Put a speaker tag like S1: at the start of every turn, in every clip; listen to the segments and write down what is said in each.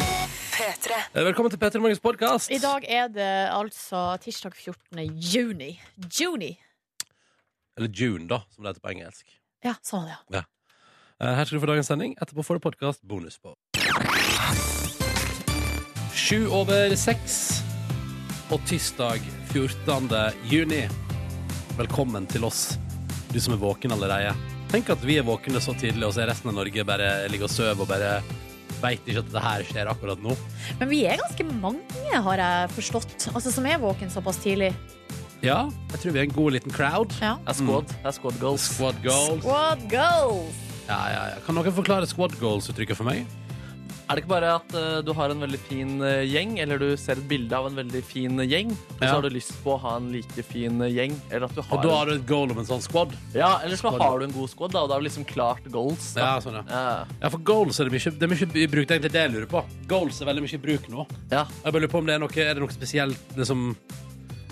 S1: Eh, Velkommen til Petter Morgens podkast.
S2: I dag er det altså tirsdag 14. juni. Juni!
S1: Eller June, da, som det heter på engelsk.
S2: Ja, sånn var det, ja.
S1: Eh, Her skal du få dagens sending. Etterpå får du podkast bonus på. Sju over seks og tirsdag 14. juni. Velkommen til oss, du som er våken allerede. Tenk at vi er våkne så tidlig, og så er resten av Norge bare ligger og sover og bare veit ikke at det her skjer akkurat nå.
S2: Men vi er ganske mange, har jeg forstått, altså, som er våken såpass tidlig.
S1: Ja, jeg tror vi er en god liten crowd.
S2: Ja.
S3: Det er squad. Mm. Det er squad goals.
S1: Squad goals.
S2: Squad goals!
S1: Ja, ja, ja. Kan noen forklare squad goals-uttrykket for meg?
S3: Er det ikke bare at eh, du har en veldig fin eh, gjeng, eller du ser et bilde av en veldig fin eh, gjeng, og
S1: Ja.
S3: så har du lyst på å ha en like fin eh, gjeng? Eller at du har,
S1: Og da har du et goal om en sånn squad?
S3: en, ja, eller så
S1: Squad.
S3: har du en god squad, da, og da er det liksom klart goals. Da.
S1: Ja, sånn, ja.
S3: Ja.
S1: ja for goals er det mye, det er mye i bruk. Det er egentlig det jeg lurer på. Goals er veldig mye i bruk nå.
S3: Ja.
S1: Jeg bare lurer på om det er noe, er det noe spesielt liksom,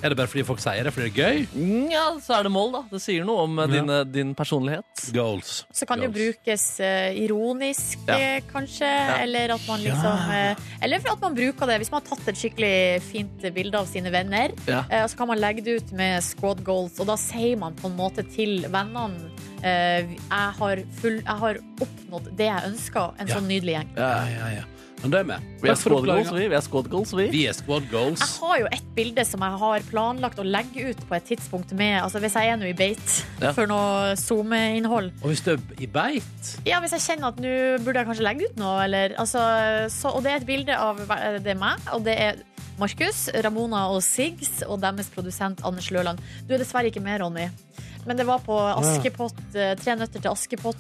S1: Er det bare fordi folk sier det fordi det er gøy?
S3: Mm, ja, så er det mål, da. Det sier noe om eh, din, eh, din personlighet.
S1: Goals.
S2: Så kan det jo
S1: Goals.
S2: brukes eh, ironisk,
S3: Ja.
S2: eh, kanskje. Eller at man
S1: Ja.
S2: liksom eh, Eller for at man bruker det hvis man har tatt et skikkelig fint bilde av sine venner.
S3: Ja.
S2: eh, og så kan man legge det ut med squad goals, og da sier man på en måte til vennene eh, jeg, har full, jeg har oppnådd det jeg ønsker. En
S1: Ja.
S2: sånn nydelig gjeng.
S1: Ja, ja, ja. Men det er med.
S3: Vi er
S1: Takk for
S3: squad goals,
S1: oppklaringen.
S3: vi. vi, er squad goals, vi.
S1: Vi er squad
S2: Jeg
S1: goals.
S2: har jo et bilde som jeg har planlagt å legge ut på et tidspunkt med Altså hvis jeg er nå i beit
S3: Ja.
S2: for noe SoMe-innhold.
S1: Og hvis du er i beit
S2: Ja, hvis jeg kjenner at nå burde jeg kanskje legge ut noe, eller altså så, Og det er et bilde av hver- det er meg, og det er Markus, Ramona og Sigs og deres produsent Anders Løland. Du er dessverre ikke med, Ronny. Men det var på Askepott, eh, Tre nøtter til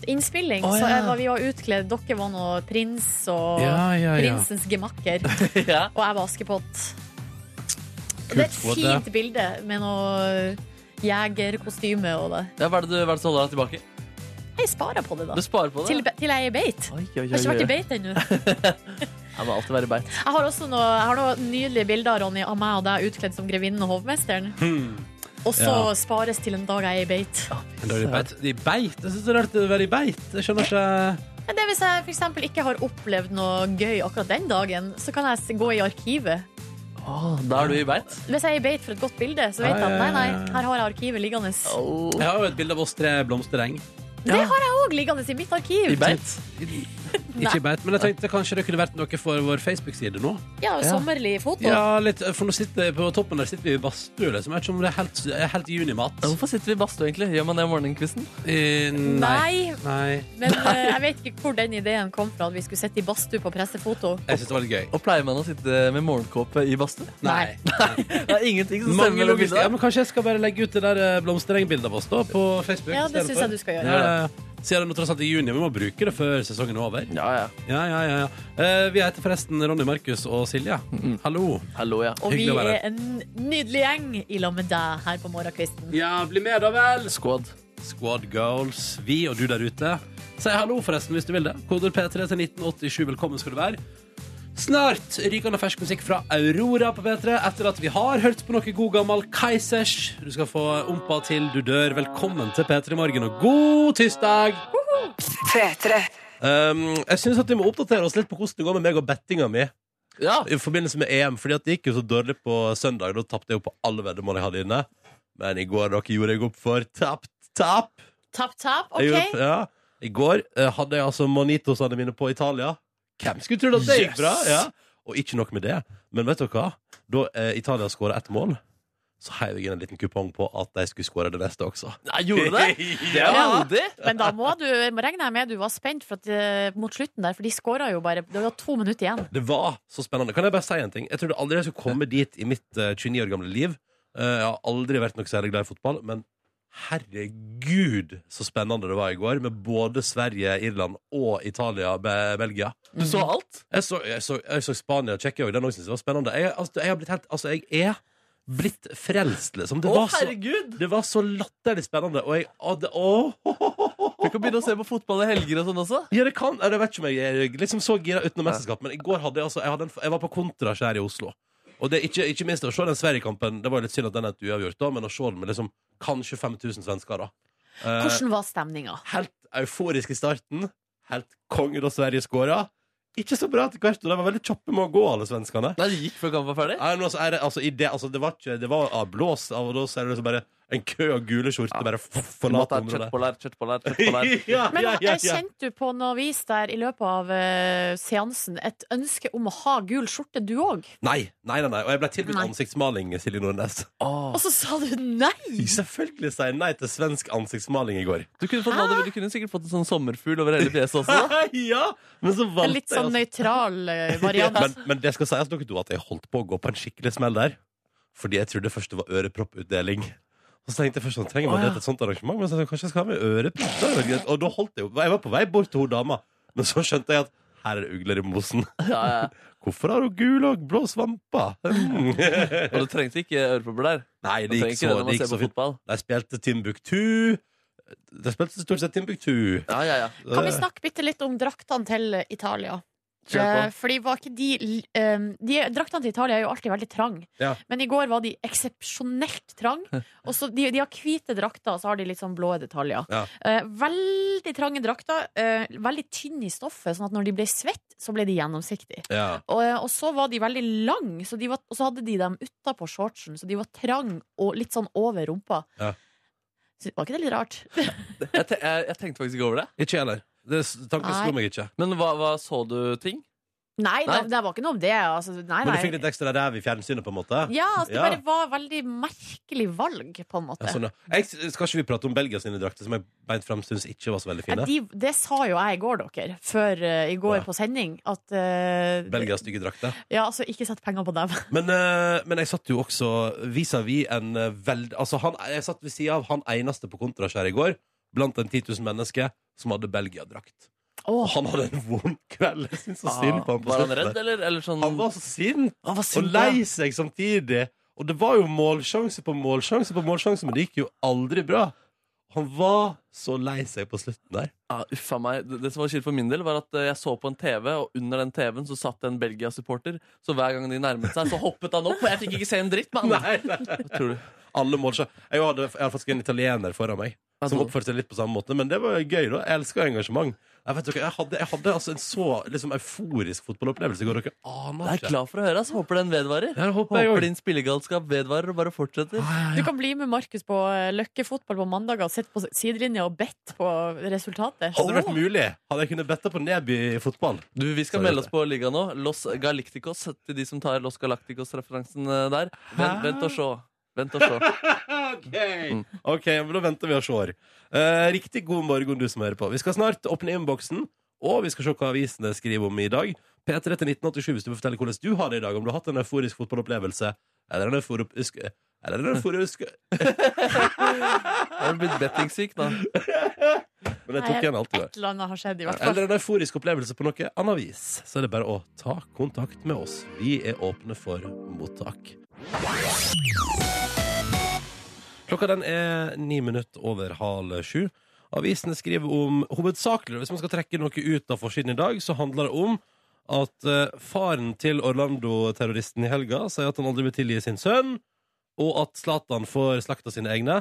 S2: Askepott-innspilling.
S1: Å,
S2: Så
S1: ja.
S2: jeg var, vi var utkledd. Dere var nå prins og
S1: Ja, ja, ja.
S2: prinsens gemakker.
S3: ja.
S2: Og jeg var Askepott. Og
S1: Kult,
S2: det er et
S1: Frode.
S2: fint bilde med noe jegerkostyme og det.
S3: Ja, hva er det du hva er det som holder deg tilbake?
S2: Jeg sparer på det, da.
S3: Du sparer på det?
S2: Til, be- til jeg er i beit.
S3: Oi, oi, oi,
S2: Jeg har ikke vært
S3: oi.
S2: i beit ennå.
S3: Jeg må alltid være i beit.
S2: Jeg har også noe, jeg har noen nydelige bilder Ronny, av meg og deg utkledd som grevinnen og hovmesteren. Og så
S1: Ja.
S2: spares til en dag jeg er i beit.
S1: Men da er du i beit. I beit? Jeg syns det er rart å være i beit. Jeg skjønner ikke
S2: Men det Hvis jeg for eksempel ikke har opplevd noe gøy akkurat den dagen, så kan jeg s- gå i arkivet.
S3: Å, da er du i beit.
S2: Hvis jeg er i beit for et godt bilde, så vet
S1: Ja,
S2: jeg at
S1: ja,
S2: nei, nei,
S1: ja, ja.
S2: her har jeg arkivet liggende.
S3: Au.
S1: Jeg har jo et bilde av oss tre blomstereng.
S2: Det har jeg òg liggende i mitt arkiv.
S3: I beit.
S1: Ikke i beit, men jeg tenkte kanskje det kunne vært noe for vår Facebook-side nå.
S2: Ja, sommerlig foto.
S1: Ja, litt, for nå sitter på toppen der sitter vi i badstue. Liksom. Jeg vet ikke om det er helt, er helt junimat.
S3: Ja, Hvorfor sitter vi i badstue, egentlig? Gjør man det i morgenkvisten?
S1: Eh, nei.
S2: Nei,
S1: nei.
S2: men eh, jeg vet ikke hvor den ideen kom fra at vi skulle sitte i badstue på pressefoto.
S1: Jeg syns det var litt gøy.
S3: Og pleier man å sitte med morgenkåpe i badstue?
S1: Nei.
S3: Det er ingenting som
S1: Mange
S3: stemmer med
S1: logiske- ja,
S3: bildet.
S1: men kanskje jeg skal bare legge ut det der eh, blomsterengbildet av oss da, på Facebook.
S2: Ja, det
S1: i stedet
S2: syns
S1: for.
S2: jeg du skal gjøre.
S1: Ja, ja. Siden det nå tross alt er juni, vi må bruke det før sesongen er over.
S3: Ja, ja.
S1: Ja, ja, ja, ja. Eh, vi heter forresten Ronny Markus og Silje. Hallo.
S3: Hallo, ja.
S2: Og vi
S1: Hyggelig å være
S2: er en nydelig gjeng i lag med deg her på morgenkvisten.
S1: Ja, bli med, da vel.
S3: Squad.
S1: Squad Girls, vi og du der ute. Si hallo, forresten, hvis du vil det. Koder P3 til 1987. Velkommen skal du være. Snart rykende fersk musikk fra Aurora på P3 etter at vi har hørt på noe god gammel Kaizers. Du skal få ompa til du dør. Velkommen til P3 Morgen og god tirsdag! Um, jeg syns vi må oppdatere oss litt på hvordan det går med meg og bettinga mi
S3: Ja.
S1: i forbindelse med EM. Fordi at det gikk jo så dårlig på søndag. Da tapte jeg jo på alle veddemål jeg hadde inne. Men i går dere gjorde jeg opp for tapt, tap.
S2: Tapp, tapp.
S1: Jeg
S2: OK.
S1: Gjorde, ja. I går eh, hadde jeg altså monitosene mine på Italia. Hvem skulle trodd at det gikk bra? Ja. Og ikke nok med det, men vet dere hva? Da eh, Italia skåra ett mål, så heiv jeg inn en liten kupong på at de skulle skåre det neste også.
S3: Nei, gjorde du det? Det er
S2: Ja.
S3: modig.
S2: Men da må du, regner jeg med du var spent for at, eh, mot slutten der, for de skåra jo bare Det var to minutter igjen.
S1: Det var så spennende. Kan jeg bare si en ting? Jeg trodde aldri jeg skulle komme dit i mitt eh, 29 år gamle liv. Eh, jeg har aldri vært noe særlig glad i fotball, men herregud så spennende det var i går, med både Sverige, Irland og Italia, Be Belgia. Mhm.
S3: Du så alt?
S1: Jeg så, jeg så, jeg så Spania og Tsjekkia òg. Den òg syntes jeg var spennende. Jeg, altså, jeg, har blitt helt, altså, jeg er blitt frelst, liksom. Det
S3: Å,
S1: var, så,
S3: herregud!
S1: det var så latterlig spennende. Og jeg å, det, å,
S3: Du kan begynne å se på fotball i helger og sånn også.
S1: Ja, det kan Jeg vet ikke om jeg er liksom så gira utenom mesterskap, men i går hadde jeg altså Jeg, hadde en, jeg var på kontraskjær her i Oslo. Og det, er ikke, ikke minst å se den Sverige-kampen. Det var jo litt synd at den endte uavgjort, da, men å se den med liksom kanskje 5000 svensker, da. Eh,
S2: Hvordan var stemninga?
S1: helt euforisk i starten. Helt konge da Sverige skåra. ikke så bra etter hvert. Og de var veldig kjappe med å gå, alle svenskene.
S3: Nei, det gikk før kampen var ferdig.
S1: Nei, men altså, er det, altså, i det, altså, det var ikke Det var avblåst, og da ser du liksom bare en kø av gule skjorter bare f-
S3: Mat
S1: forlater
S3: her,
S1: området.
S3: Kjøttboller, kjøttboller, kjøttboller.
S1: Ja,
S2: Men
S1: ja, ja,
S2: eh,
S1: ja.
S2: kjente du på noe vis der i løpet av eh, seansen et ønske om å ha gul skjorte, du òg?
S1: Nei, nei, nei, nei. Og jeg ble tilbudt
S2: Nei.
S1: ansiktsmaling, Silje Nordnes.
S3: Åh.
S2: Og så sa du nei!
S1: Selvfølgelig sa jeg nei til svensk ansiktsmaling i går.
S3: Du kunne, fått, noe- du kunne sikkert fått en sånn sommerfugl over hele fjeset også.
S1: ja, men så valgte
S2: En litt sånn
S1: jeg
S2: nøytral eh,
S1: altså-
S2: variant.
S1: men, men det skal sies dere to at jeg holdt på å gå på en skikkelig smell der. Fordi jeg trodde først det var ørepropputdeling. Og så tenkte jeg først sånn, trenger man
S3: Å, ja.
S1: det til et sånt arrangement? Men så tenkte jeg, kanskje jeg skal ha med ørepropp? Og da holdt jeg jo Jeg var på vei bort til hun dama, men så skjønte jeg at her er det ugler i mosen.
S3: Ja, ja.
S1: Hvorfor har hun gule og blå svamper? Mm.
S3: Og du trengte ikke ørepropper der.
S1: Nei,
S3: Du
S1: det gikk
S3: trenger ikke det
S1: så,
S3: når
S1: det
S3: man
S1: gikk
S3: ser
S1: så
S3: på
S1: fint.
S3: fotball.
S1: De spilte Timbuktu. De spilte stort sett Timbuktu.
S3: Ja, ja, ja.
S2: Kan
S1: Eh.
S2: vi snakke bitte litt om draktene til Italia?
S3: Kjør
S2: Eh, Fordi var ikke de, l- eh, de Draktene til Italia er jo alltid veldig trang
S1: Ja.
S2: Men i går var de eksepsjonelt trang Og så de, de har hvite drakter Og så har de litt sånn blå detaljer
S1: Ja.
S2: Eh, Veldig trange drakter eh, Veldig tynn i stoffet Sånn at når de ble svett Så ble de gjennomsiktige
S1: Ja.
S2: Og, eh, og så var de veldig lang så de var, Og så hadde de dem utenpå shortsen Så de var trang og litt sånn over rumpa
S1: Ja.
S2: Så Var ikke det litt rart?
S1: Eh.
S3: på. Jeg, te jeg, jeg tenkte faktisk ikke over det.
S1: Ikke jeg heller. Det s- Tanken
S2: Nei.
S1: slo meg ikke.
S3: Men hva, hva så du ting?
S2: Nei,
S3: Nei.
S2: Det, det var ikke noe om det altså, nei,
S1: Men du
S2: nei.
S1: fikk litt ekstra ræv i fjernsynet, på en måte?
S2: Ja, altså, det
S1: Ja.
S2: bare var veldig merkelig valg, på en måte.
S1: Ja, sånn, ja. Jeg, skal ikke vi prate om Belgia sine drakter, som jeg beint fram syns ikke var så veldig
S2: Ja,
S1: fine?
S2: de, det sa jo jeg i går, dere, før eh, i går
S1: Ja.
S2: på sending, at eh,
S1: Belgia har stygge drakter.
S2: Ja, altså, ikke sett penger på dem.
S1: Men, eh, men jeg satt jo også vis-à-vis en eh, veld... Altså, han, jeg satt ved sida av han eneste på Kontraskjæret i går, blant en 10 000 mennesker, som hadde Belgia-drakt. Og
S2: Åh,
S1: han hadde en vond kveld. Jeg syns så synd på han på
S3: var han
S1: slutten
S3: redd,
S1: der.
S3: eller? eller sånn...
S1: Han var så sint!
S3: Han var
S1: Og
S3: sint, ja.
S1: lei seg samtidig. Og det var jo målsjanse på målsjanse på målsjanse, men det gikk jo aldri bra. Han var så lei seg på slutten der.
S3: Ah, uffa meg. Det, det som var kjipt for min del, var at eh, jeg så på en TV, og under den TV-en så satt det en Belgia-supporter. Så hver gang de nærmet seg, så hoppet han opp, og jeg fikk ikke se en dritt, mann!
S1: Nei, nei.
S3: Hva tror du?
S1: Alle målsjanser. Jeg hadde, jeg hadde faktisk en italiener foran meg
S3: Hva
S1: som
S3: tror du?
S1: oppførte seg litt på samme måte, men det var jo gøy, da. Jeg elsker engasjement. Jeg, vet, dere, jeg hadde, jeg hadde altså en så liksom, euforisk fotballopplevelse i går. Dere aner
S3: Jeg er
S1: ikke.
S3: glad for å høre. ass. Håper den vedvarer.
S1: Ja, det håper jeg
S3: Håper
S1: også.
S3: din spillegalskap vedvarer og bare fortsetter.
S2: du kan bli med Markus på eh, løkkefotball på mandag og sitte på sidelinja og bedt på resultatet.
S1: Hadde det vært mulig, hadde jeg kunnet betta på Neby i fotball.
S3: Du, Vi skal
S1: Så
S3: melde
S1: gjør
S3: oss på ligaen nå. Los Galacticos til de som tar Los Galacticos-referansen eh, der. Vent,
S1: Hæ?
S3: vent og se. Vent og se.
S1: OK, Ok, men da venter vi og ser. Eh, riktig god morgen, du som hører på. Vi skal snart åpne innboksen, og vi skal se hva avisene skriver om i dag. P3 til 1987 hvis du vil fortelle hvordan du har det i dag. Om du har hatt en euforisk fotballopplevelse, eller en euforisk Eller en euforisk
S3: Jeg har blitt bettingsyk nå.
S1: Men jeg tok igjen alt det der.
S2: Et eller annet har skjedd, i hvert fall.
S1: Eller en euforisk opplevelse på noe annet vis. Så er det bare å ta kontakt med oss. Vi er åpne for mottak. Klokka den er ni minutter over halv sju. Avisene skriver om hovedsakelig, hvis man skal trekke noe ut av forsiden i dag, så handler det om at eh, faren til Orlando-terroristen i helga sier at han aldri vil tilgi sin sønn, og at Zlatan får slakta sine egne.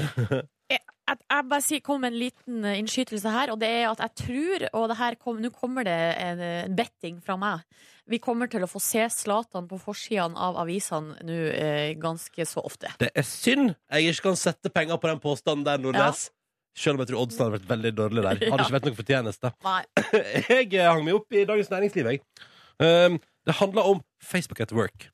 S2: jeg, jeg bare sier, kom med en liten eh, innskytelse her, og det er at jeg tror Og det her kom, nå kommer det en, eh, en betting fra meg. Vi kommer til å få se Zlatan på forsidene av avisene nå eh, ganske så ofte.
S1: Det er synd jeg ikke kan sette penger på den påstanden der, Nordnes. Selv om jeg tror oddsen hadde vært veldig dårlig der. Hadde ikke vært noe fortjeneste.
S2: Nei.
S1: Jeg eh, hang meg opp i Dagens Næringsliv, jeg. Um, det handler om Facebook at work.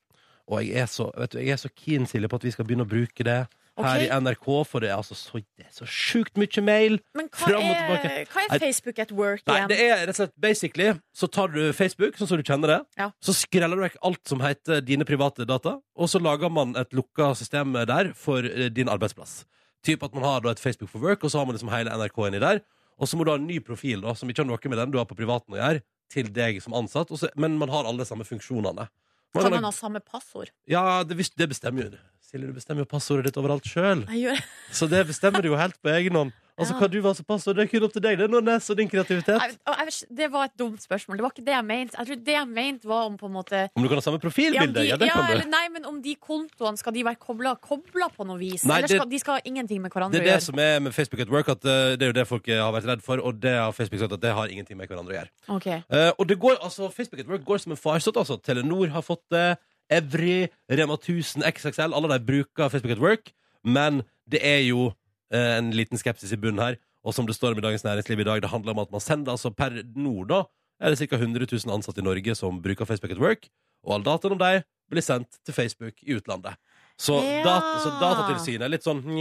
S1: Og jeg er så, vet du, jeg er så keen, Silje, på at vi skal begynne å bruke det her
S2: Ok.
S1: i NRK, for det er altså så, det er så sjukt mye mail.
S2: Men hva
S1: Fram og
S2: er,
S1: tilbake.
S2: hva
S1: Nei.
S2: er Facebook at work
S1: Nei,
S2: igjen?
S1: det er rett og slett basically Så tar du Facebook, sånn som du kjenner det
S2: Ja.
S1: Så skreller du vekk alt som heter dine private data Og så lager man et lukka system der For eh, din arbeidsplass Typ at man har da et Facebook for work Og så har man liksom hele NRK inni der Og så må du ha en ny profil da Som ikke har noe med den du har på privaten å gjøre Til deg som ansatt og så, Men man har alle de samme funksjonene Man
S2: Kan
S1: ha-
S2: man ha samme passord?
S1: Ja, det, visst- det bestemmer jo du Silje, du bestemmer jo passordet ditt overalt selv
S2: Jeg gjør
S1: så det bestemmer du jo helt på egen hånd. Altså,
S2: Ja.
S1: Hva du var såpass, og det er kun opp til deg, det, Nordnes, og din kreativitet.
S2: Jeg, og jeg, det var et dumt spørsmål. Det var ikke det jeg mente. Jeg tror det jeg mente var om på en måte
S1: Om du kan ha samme
S2: ja,
S1: profilbilde?
S2: de, ja,
S1: Ja, det kan du.
S2: eller, nei, men om de kontoene skal de være kobla, kobla på noe vis?
S1: Nei,
S2: eller
S1: det-
S2: skal, de skal ha ingenting med hverandre
S1: Det er det som er med Facebook at work, at eh, det er jo det folk eh, har vært redd for, og det har Facebook sagt at det har ingenting med hverandre å gjøre.
S2: å gjøre? Ok.
S1: Eh, og det går, altså, Facebook at work går som en farsott, altså. Telenor har fått det, Evry, Rema 1000, XXL, alle de bruker Facebook at work, men det er jo eh, en liten skepsis i bunnen her, og som det står om i Dagens Næringsliv i dag, det handler om at man sender, altså per nord da, er det ca. 100 000 ansatte i Norge som bruker Facebook at work, og all dataen om deg blir sendt til Facebook i utlandet. Så,
S2: Ja.
S1: data, så datatilsynet er litt sånn mm,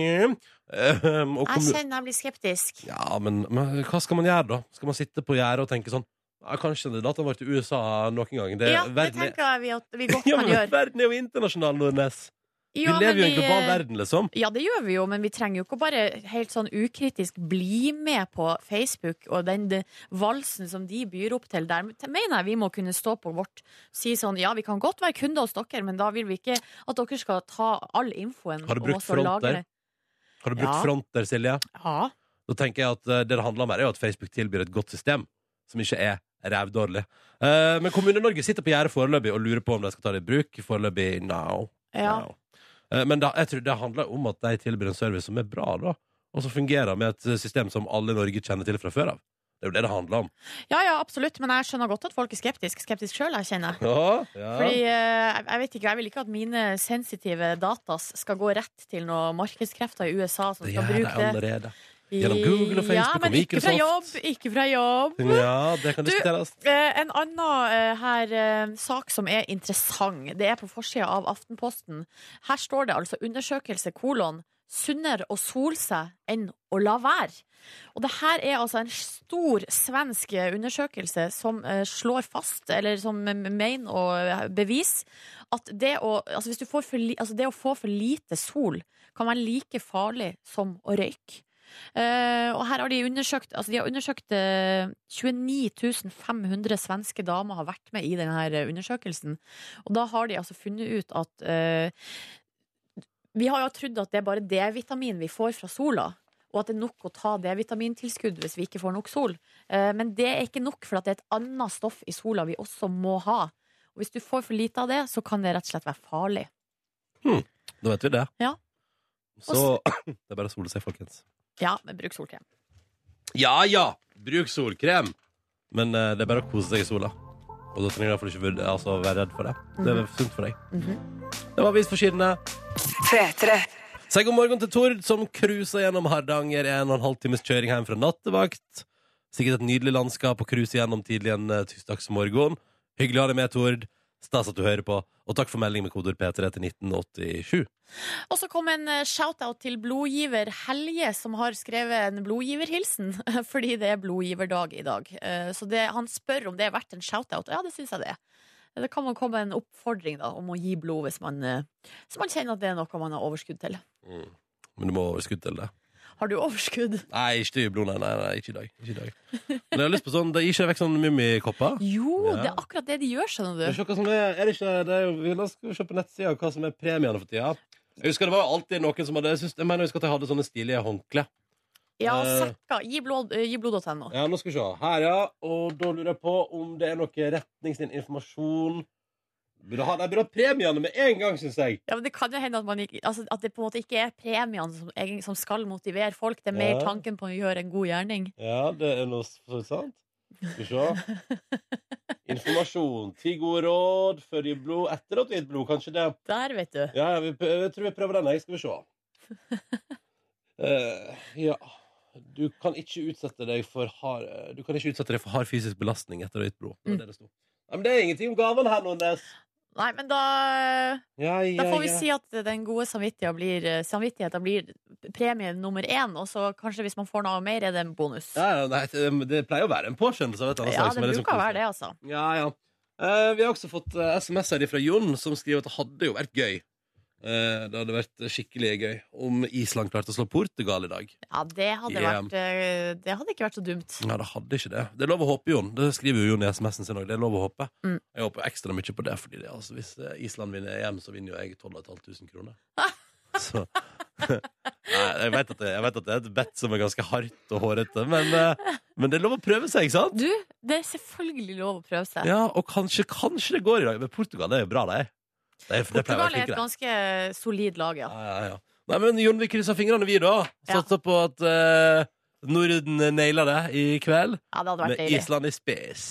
S1: ehm, og
S2: Jeg
S1: kommu-
S2: kjenner jeg blir skeptisk.
S1: ja, men, men hva skal man gjøre da? Skal man sitte på gjerdet og tenke sånn ja, Kanskje det dataen vår til USA noen gang. Det,
S2: Ja, det
S1: verden, er,
S2: tenker jeg vi at vi godt
S1: ja,
S2: kan
S1: men,
S2: gjøre.
S1: verden er jo internasjonal, Nordnes.
S2: Ja,
S1: vi lever
S2: men
S1: jo i en
S2: vi,
S1: global
S2: eh,
S1: verden, liksom.
S2: Ja, det gjør vi jo, men vi trenger jo ikke å bare helt sånn ukritisk bli med på Facebook og den de, valsen som de byr opp til der. Men te- Mener jeg vi må kunne stå på vårt si sånn ja, vi kan godt være kunder hos dere, men da vil vi ikke at dere skal ta all infoen.
S1: Har du
S2: og
S1: brukt
S2: også lage
S1: front der?
S2: det.
S1: Har du brukt
S2: ja.
S1: front der, Silje?
S2: Ja.
S1: Da tenker jeg at eh, det det handler om her, er jo at Facebook tilbyr et godt system som ikke er rævdårlig. Eh, men Kommune-Norge sitter på gjerdet foreløpig og lurer på om de skal ta det i bruk. Foreløpig no.
S2: ja.
S1: no. Eh, men da, jeg tror det handler om at de tilbyr en service som er bra, da. Og som fungerer med et system som alle i Norge kjenner til fra før av. Det er jo det det handler om.
S2: ja, ja, absolutt, men jeg skjønner godt at folk er skeptiske. Skeptisk sjøl, jeg kjenner.
S1: Ja, ja.
S2: Fordi, eh, jeg- jeg vet ikke, jeg vil ikke at mine sensitive datas skal gå rett til noen markedskrefter i USA som
S1: Det
S2: skal
S1: gjør de
S2: bruke det.
S1: allerede. Gjennom Google og
S2: ja,
S1: Facebook og
S2: men ikke fra jobb,
S1: Microsoft.
S2: ikke fra jobb.
S1: Ja, det kan
S2: Du-
S1: diskuteres.
S2: Eh, en annen eh, her, eh, sak som er interessant, det er på forsida av Aftenposten. Her står det altså 'undersøkelse kolon'. Sunnere å sole seg enn å la være. Og det her er altså en stor svensk eh, undersøkelse som eh, slår fast, eller som eh, mener å eh, bevise, at det å, altså hvis du får for, li- altså det å få for lite sol kan være like farlig som å røyke. Eh, og her har de undersøkt altså De har undersøkt eh, 29 500 svenske damer har vært med i denne undersøkelsen. Og da har de altså funnet ut at eh, Vi har jo trodd at det er bare D-vitamin vi får fra sola. Og at det er nok å ta D-vitamintilskudd hvis vi ikke får nok sol. Eh, men det er ikke nok, for at det er et annet stoff i sola vi også må ha. Og hvis du får for lite av det, så kan det rett og slett være farlig.
S1: Da vet vi det.
S2: Ja.
S1: Så det er bare å sole seg, folkens.
S2: Ja, men bruk solkrem.
S1: Ja ja, bruk solkrem! Men eh, det er bare å kose seg i sola. Og da trenger du derfor ikke vurd- altså, være redd for det. Det er sunt for deg. Det var avis for sidene. Si god morgen til Tord, som cruiser gjennom Hardanger en og en halv times kjøring hjem fra nattevakt. Sikkert et nydelig landskap å cruise gjennom tidlig en eh, tirsdagsmorgen. Hyggelig å ha deg med, Tord. Stas at du hører på. Og takk for melding med kodeord P3 til 1987.
S2: Og så kom en eh, shout-out til blodgiver Helje, som har skrevet en blodgiverhilsen. Fordi det er blodgiverdag i dag. Eh, Så det, han spør om det er verdt en shout-out. Ja, det syns jeg det er. Det kan man komme med en oppfordring da, om å gi blod hvis man, eh, hvis man kjenner at det er noe man har overskudd til.
S1: Men du må ha overskudd til det.
S2: Har du overskudd?
S1: Nei, ikke til blod, nei, nei, nei, ikke i dag. Ikke i dag. Men jeg har lyst på sånn, det gir ikke vekk sånne mummikopper.
S2: Jo,
S1: Ja.
S2: det er akkurat det de gjør,
S1: Det er
S2: skjønner du.
S1: ikke noe som er, er det ikke, det er jo, vi- la oss se på nettsida hva som er premiene for tida. Jeg husker det var jo alltid noen som hadde, jeg, synes, jeg mener jeg husker at jeg hadde sånne stilige håndkle.
S2: Ja,
S1: Eh.
S2: sekker. Gi blod- eh, gi blod.no.
S1: Ja, nå skal vi se. Her, ja. Og da lurer jeg på om det er noe retningsinformasjon. Burde ha, jeg burde ha premiene med en gang, syns jeg.
S2: Ja, men Det kan jo hende at, man ikke, altså, at det på en måte ikke er premiene som, egen- som skal motivere folk. Det er mer
S1: Ja.
S2: tanken på å gjøre en god gjerning.
S1: Ja, det er noe så sant. Skal vi se. Informasjon. Ti gode råd før du gir blod. Etter at du har gitt blod, kanskje det.
S2: Der, vet du.
S1: Ja, ja, vi, prø- jeg tror vi prøver den. Jeg skal vi se. Eh, ja. Du kan ikke utsette deg for hard eh, Du kan ikke utsette deg for hard fysisk belastning etter å ha gitt blod. Det var
S2: Mm.
S1: det det sto. Nei, men det er ingenting om gaven her, Nordnes.
S2: Nei, men da
S1: Ja, ja,
S2: Da får vi
S1: ja.
S2: si at den gode samvittigheten blir, eh, samvittigheten blir premie nummer én, og så kanskje hvis man får noe mer, er det en bonus.
S1: ja, ja, nei, det- Det pleier å være en påskjønnelse av et annet
S2: Ja,
S1: slag. som
S2: det
S1: er liksom
S2: bruker å
S1: koselig.
S2: være det, altså.
S1: Ja, ja. Eh, vi har også fått eh, SMS her fra Jon, som skriver at det hadde jo vært gøy. Eh, det hadde vært skikkelig gøy om Island klarte å slå Portugal i dag.
S2: Ja, det hadde,
S1: Ja.
S2: vært, eh, det hadde ikke vært så dumt.
S1: Nei, det hadde ikke det. Det er lov å håpe, Jon. Det skriver jo Jon i SMS-en sin òg. Det er lov å håpe.
S2: Mm.
S1: Jeg håper ekstra mye på det, Fordi det, altså, hvis eh, Island vinner EM, så vinner jo jeg 12 500 kroner. Så Nei, jeg vet, at det, jeg vet at det er et bet som er ganske hardt og hårete, men, eh, men det er lov å prøve seg, ikke sant?
S2: Du, det er selvfølgelig lov å prøve seg.
S1: Ja, og kanskje, kanskje det går i dag. Men Portugal det er jo bra, de. Det er- det pleier å være
S2: Portugal er
S1: flinke,
S2: et
S1: de.
S2: ganske solid lag, ja.
S1: Ja, ja, ja. Nei, men Jon, vi krysser fingrene, vi, da.
S2: Ja.
S1: Satser på at eh, Norden nailer det i kveld,
S2: ja det hadde vært
S1: med
S2: deilig.
S1: Island i spiss.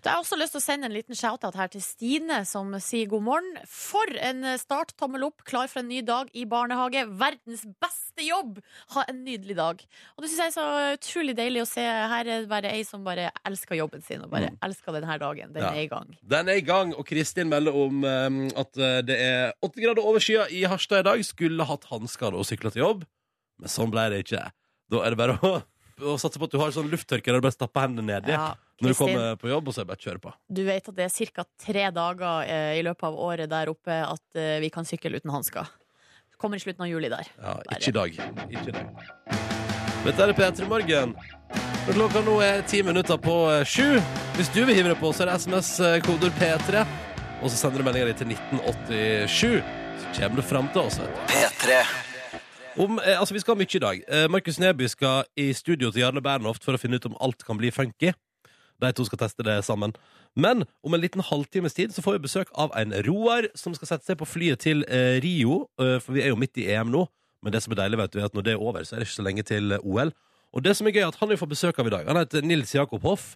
S2: Da har jeg også lyst til å sende en liten shout-out her til Stine, som sier god morgen. For en start! Tommel opp, klar for en ny dag i barnehage. Verdens beste jobb! Ha en nydelig dag. Og det syns jeg er så utrolig deilig å se. Her er det bare ei som bare elsker jobben sin, og bare elsker denne dagen. Den
S1: Mm. Ja.
S2: er i gang.
S1: Den er i gang, og Kristin melder om eh, at eh, det er åtte grader over skya i Harstad i dag. Skulle hatt hansker og sykla til jobb, men sånn ble det ikke. Da er det bare å, å satse på at du har sånn lufttørker der du bare stapper hendene nedi
S2: Ja,
S1: når du
S2: Kristin.
S1: kommer på jobb, og så er det bare å kjøre på.
S2: Du vet at det er ca. tre dager eh, i løpet av året der oppe at eh, vi kan sykle uten hansker. Kommer i slutten av juli der.
S1: Ja,
S2: Bare-
S1: ikke i dag. Ikke i dag. Dette er P3 Morgen. Og Klokka nå er ti minutter på eh, sju. Hvis du vil hive deg på, så er det SMS-koder P3. Og så sender du meldinga di til 1987. Så kommer du fram til oss, vet du. Om, eh, altså, vi skal ha mye i dag. Eh, Markus Neby skal i studio til Jarle Bernhoft for å finne ut om alt kan bli funky. De to skal teste det sammen. Men om en liten halvtimes tid så får vi besøk av en Roar som skal sette seg på flyet til eh, Rio, eh, for vi er jo midt i EM nå. Men det som er deilig, vet du, er at når det er over, så er det ikke så lenge til eh, OL. Og det som er gøy, er at han vi får besøk av i dag, han heter Nils Jakob Hoff.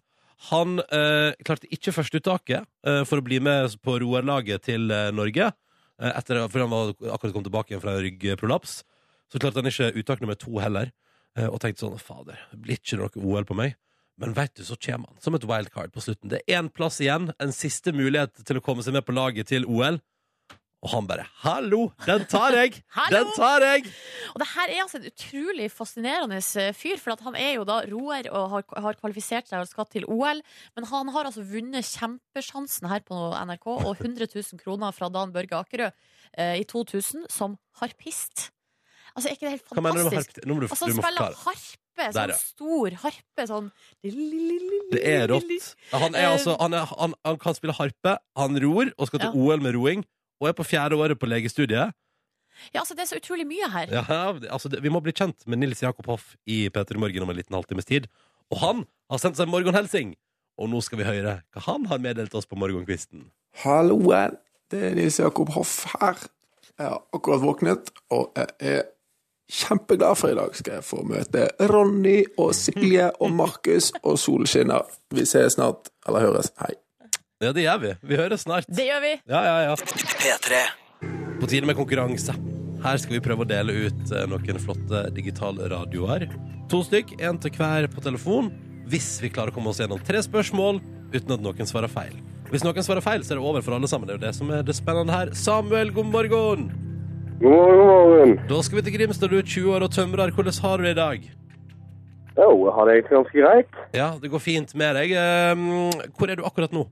S1: Han eh, klarte ikke førsteuttaket eh, for å bli med på Roar-laget til eh, Norge. Eh, etter, for han var, akkurat kom tilbake igjen fra en ryggprolaps. Så klarte han ikke uttak nummer to heller. Eh, og tenkte sånn Fader, det blir ikke noe OL på meg. Men veit du, så kommer han som et wildcard på slutten. Det er én plass igjen, en siste mulighet til å komme seg med på laget til OL. Og han bare 'Hallo, den tar jeg!
S2: Hallo!
S1: den tar jeg!'
S2: Og det her er altså en utrolig fascinerende eh, fyr, for at han er jo da roer og har, har kvalifisert seg og skal til OL. Men han har altså vunnet kjempesjansen her på NRK og 100 000 kroner fra Dan Børge Akerø eh, i 2000 som harpist. Altså, er ikke det helt
S1: Hva mener du med
S2: fantastisk?
S1: harp? Nå må du,
S2: Altså,
S1: du
S2: han
S1: må
S2: spiller
S1: forklare.
S2: harpe,
S1: Der,
S2: sånn
S1: ja.
S2: stor harpe, sånn
S1: Det er rått. Han,
S2: Eh.
S1: er altså, han, er, han, han kan spille harpe, han ror og skal til
S2: Ja.
S1: OL med roing. Og er på fjerde året på legestudiet.
S2: Ja, altså, det er så utrolig mye her.
S1: Ja, det- altså, det, vi må bli kjent med Nils Jakob Hoff i P3 Morgen om en liten halvtimes tid. Og han har sendt seg en morgenhelsing! Og nå skal vi høre hva han har meddelt oss på morgenkvisten.
S4: Halloen, det er Nils Jakob Hoff her. Jeg har akkurat våknet, og jeg er kjempeglad for i dag skal jeg få møte Ronny og Silje og Markus og solskinner. Vi ses snart, eller høres. Hei.
S1: Ja, det gjør vi. Vi høres snart.
S2: Det gjør vi.
S1: Ja, ja, ja. På tide med konkurranse. Her skal vi prøve å dele ut eh, noen flotte digitalradioer. To stykk, én til hver på telefon. Hvis vi klarer å komme oss gjennom tre spørsmål uten at noen svarer feil. Hvis noen svarer feil, så er det over for alle sammen. Det er jo det som er det spennende her. Samuel, god morgen!
S5: God morgen, god morgen.
S1: Da skal vi til Grimstad. Du er 20 år og tømrer. Hvordan har du det i dag?
S5: Jo, jeg har det egentlig ganske greit.
S1: Ja, det går fint med deg. Eh, Hvor er du akkurat nå?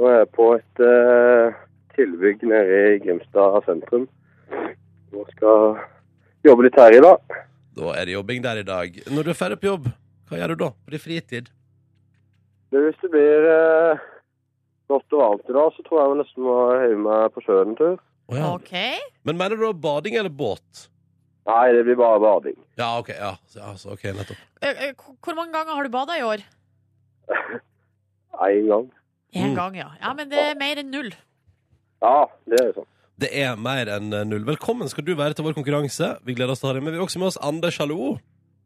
S5: Nå er jeg på et eh, tilbygg nede i Grimstad sentrum. Og skal jobbe litt her i dag.
S1: Da er det jobbing der i dag. Når du er ferdig på jobb, hva gjør du da? På din fritid?
S5: Men hvis det blir eh, godt og varmt i dag, så tror jeg jeg nesten må heve meg på sjøen en tur.
S1: Å ja.
S2: OK.
S1: Men mener du da bading eller båt?
S5: Nei, det blir bare bading.
S1: Ja, ok, ja. Så- ja så, ok, nettopp.
S2: Eh, eh, Hvor mange ganger har du bada i år?
S5: Én gang.
S2: Én
S1: Mm.
S2: gang, ja. Ja, Men det er mer enn null.
S5: Ja, det er sånn.
S1: Det er mer enn eh, null. Velkommen skal du være til vår konkurranse. Vi gleder oss til å ha deg med. Vi har også med oss Anders, hallo.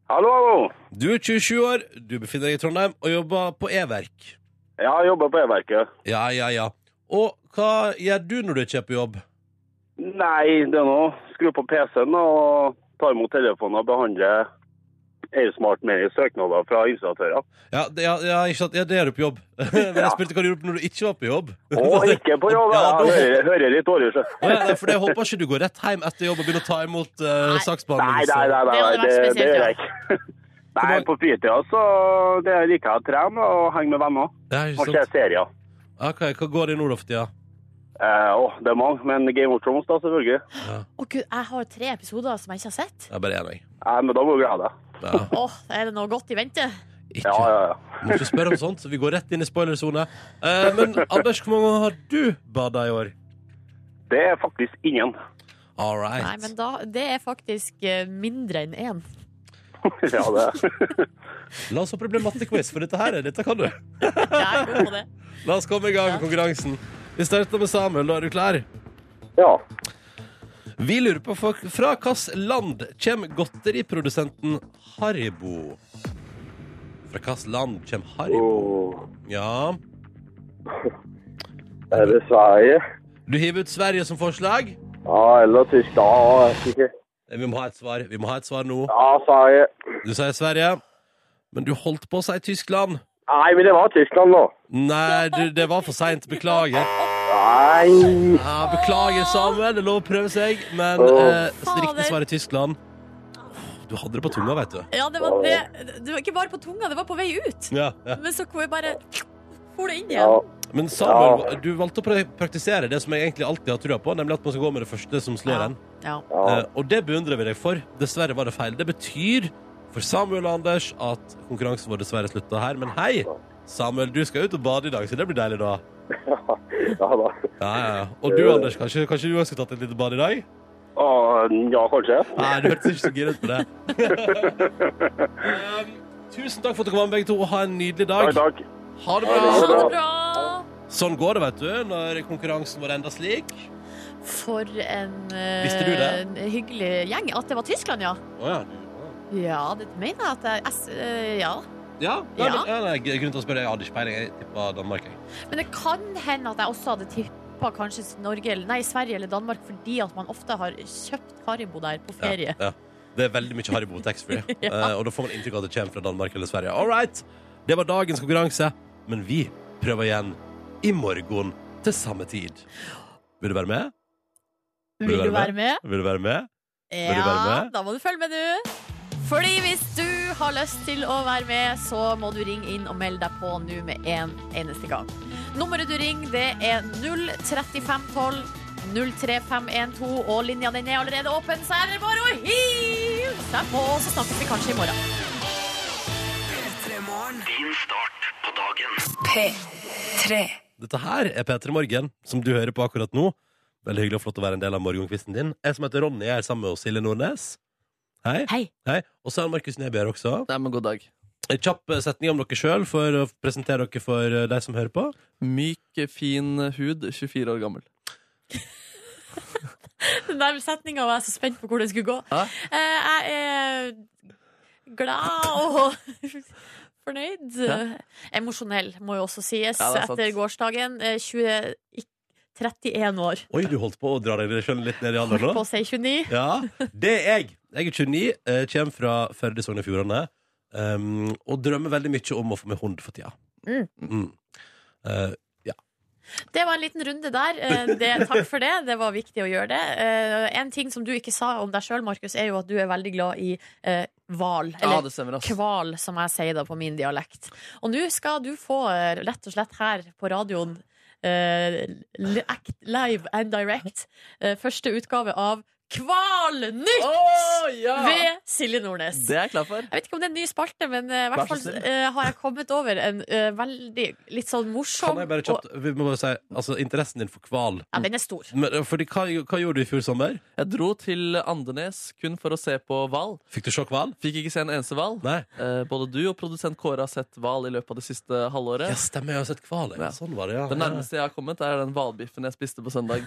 S5: Hallo, hallo.
S1: Du er 27 år, du befinner deg i Trondheim og jobber på E-verk.
S5: Jeg har jobba på E-verket.
S1: Ja, ja, ja. Og hva gjør du når du ikke er på jobb?
S5: Nei, det er nå skru på PC-en og ta imot telefonen og behandle Airsmart med søknader fra installatører.
S1: Ja, det, ja, ja, ikke sant? ja, det er du på jobb. Men jeg spurte hva du gjorde når du ikke var på jobb.
S5: Og ikke på jobb,
S1: Ja,
S5: ja,
S1: da-
S5: jeg hører, hører litt dårlig så.
S1: Å, ja, nei, for jeg håper ikke du går rett hjem etter jobb og begynner å ta imot uh,
S2: Nei.
S5: Nei,
S1: saksbehandling.
S5: nei, nei, nei,
S2: Det hadde
S5: nei det,
S2: vært
S5: det
S2: spesielt,
S5: gjør
S2: ja.
S5: jeg ikke. Nei, på fritida så det liker jeg å trene og henge med venner
S1: Ja, ikke
S5: og se
S1: sant?
S5: serier.
S1: Ok, hva går det i nord for tida?
S5: Eh, åh, det er mange, men Game of Thrones da, selvfølgelig.
S2: Å gud, jeg har tre episoder som jeg ikke har sett.
S1: Jeg er bare enig.
S5: Eh, men da må jeg glede.
S1: Ja,
S2: Åh, er det noe godt i vente?
S1: ikke.
S5: Ja, ja, ja.
S1: Må ikke spørre om sånt. så Vi går rett inn i spoilersone. Eh, men Anders, hvor mange ganger har du bada i år?
S5: Det er faktisk ingen.
S1: All right.
S2: Nei, men da, det er faktisk eh, mindre enn én.
S5: ja, det er.
S1: La oss håpe det blir mattequiz, for dette her dette kan du.
S2: Jeg er god på det.
S1: La oss komme i gang med
S2: Ja.
S1: konkurransen. Vi starter med Samuel. Da er du klar?
S5: Ja.
S1: Vi lurer på for- fra hvilket land kommer godteriprodusenten Haribo? Fra hvilket land kommer Haribo?
S5: Åh.
S1: Ja
S5: Er det Sverige?
S1: Du hiver ut Sverige som forslag. Eh,
S5: Ja, eller Tyskland. Ja, jeg vet ikke.
S1: Vi må ha et svar Vi må ha et svar nå.
S5: Ja, Sverige.
S1: Du sier Sverige, men du holdt på å si Tyskland.
S5: Nei, men det var Tyskland nå.
S1: Nei, du, det var for seint. Beklager.
S5: Nei.
S1: Ja, beklager, Samuel. Det er lov å prøve seg, men
S5: Åh.
S1: eh, så det
S2: Fader.
S1: riktige svaret er Tyskland. Du hadde det på tunga, vet du.
S2: Ja, det var det. Det var ikke bare på tunga, det var på vei ut.
S1: Ja, ja.
S2: Men så kom jeg bare for det inn
S5: Ja.
S2: igjen.
S1: Men Samuel,
S5: Ja.
S1: du valgte å pra- praktisere det som jeg egentlig alltid har trua på, nemlig at man skal gå med det første som slår en.
S2: Ja.
S5: ja.
S1: Eh, og det beundrer vi deg for. Dessverre var det feil. Det betyr for Samuel og Anders at konkurransen vår dessverre slutta her. Men hei, Samuel, du skal ut og bade i dag, så det blir deilig, da.
S5: ja da.
S1: Ja, ja, ja. Og du, Anders, kanskje, kanskje du også skulle tatt et lite bad i dag?
S5: Åh, ja, kanskje.
S1: Nei, du hørtes ikke så gira ut på det. um, tusen takk for at dere var med, begge to, og ha en nydelig dag.
S5: Takk, takk.
S1: Ha det
S2: Ha
S1: bra.
S2: det bra!
S1: Sånn går det, vet du, når konkurransen vår ender slik.
S2: For en eh,
S1: Visste du det?
S2: en hyggelig gjeng. At det var Tyskland, ja.
S1: Å ja. du-
S2: Ja, det mener jeg at jeg S- eh, Ja.
S1: Ja, nei,
S2: Ja.
S1: men- ja. Nei, grunnen til å spørre, jeg hadde ikke peiling. Jeg tippa Danmark, jeg.
S2: Men det kan hende at jeg også hadde tippa kanskje Norge, eller- nei, Sverige eller Danmark fordi at man ofte har kjøpt Haribo der på ferie.
S1: Ja, ja. Det er veldig mye Haribo taxfree,
S2: Ja.
S1: Eh, og da får man inntrykk av at det kommer fra Danmark eller Sverige. All right, det var dagens konkurranse, men vi prøver igjen i morgen til samme tid. Vil du være med?
S2: Vil du være med?
S1: Vil du være med?
S2: Ja,
S1: du være med?
S2: da må du følge med, du. Fordi hvis du har lyst til å være med, så må du ringe inn og melde deg på nå med en eneste gang. Nummeret du ringer, det er 03512. 03512, og linja den er allerede åpen, så er det bare å hive seg på, så snakkes vi kanskje i morgen.
S6: P3.
S1: Dette her er P3 Morgen, som du hører på akkurat nå. Veldig hyggelig og flott å være en del av morgenkvisten din. Jeg som heter Ronny, jeg er sammen med oss, Silje Nordnes. Hei.
S2: Hei.
S1: Hei. Og så er Markus Neby her også.
S3: Nei, men god dag.
S1: En kjapp eh, setning om dere sjøl for å presentere dere for eh, de som hører på.
S3: Myk, fin hud, 24 år gammel.
S2: Den der setninga var jeg så spent på hvor det skulle gå.
S3: Hæ?
S2: Eh, jeg er glad og fornøyd.
S3: Ja.
S2: Emosjonell, må jo også sies,
S3: Ja, det er sant.
S2: etter gårsdagen. Eh, 20, ikk- 31 år.
S1: Oi, du holdt på å dra deg sjøl litt ned i
S2: Holdt
S1: alderen
S2: på
S1: nå?
S2: å si 29.
S1: Ja, det er jeg. Jeg er 29, eh, kommer fra Førde, Sogn og Fjordane. Um, og drømmer veldig mye om å få meg hund for tida.
S2: Mm.
S1: Mm. Eh,
S2: Det var en liten runde der. Eh, Det, takk for det. Det var viktig å gjøre det. Eh, En ting som du ikke sa om deg sjøl, Markus, er jo at du er veldig glad i eh, hval.
S3: Ja,
S2: Eller
S3: det stemmer, ass.
S2: kval, som jeg sier da på min dialekt. Og nå skal du få, eh, rett og slett her på radioen, eh, li- act live and direct, eh, første utgave av Kvalnytt
S3: Å, ja!
S2: ved Silje Nordnes.
S3: Det er jeg klar for.
S2: Jeg vet ikke om det er en ny spalte, men eh, i hvert
S3: Vær
S2: fall
S3: så snill.
S2: eh, har jeg kommet over en eh, veldig litt sånn morsom
S1: kan jeg bare
S2: og,
S1: kjapt Vi må bare si altså, interessen din for hval.
S2: ja, Den er stor.
S1: Men, eh, Fordi, hva, hva gjorde du i fjor sommer?
S3: Jeg dro til Andenes kun for å se på hval.
S1: Fikk du se hval?
S3: Fikk ikke se en eneste hval.
S1: Nei.
S3: Eh, både du og produsent Kåre har sett hval i løpet av det siste halvåret.
S1: Ja, stemmer, jeg har sett hval. Ja.
S3: Ja.
S1: Sånn var det, ja.
S3: Det nærmeste jeg har kommet, er den hvalbiffen jeg spiste på søndag.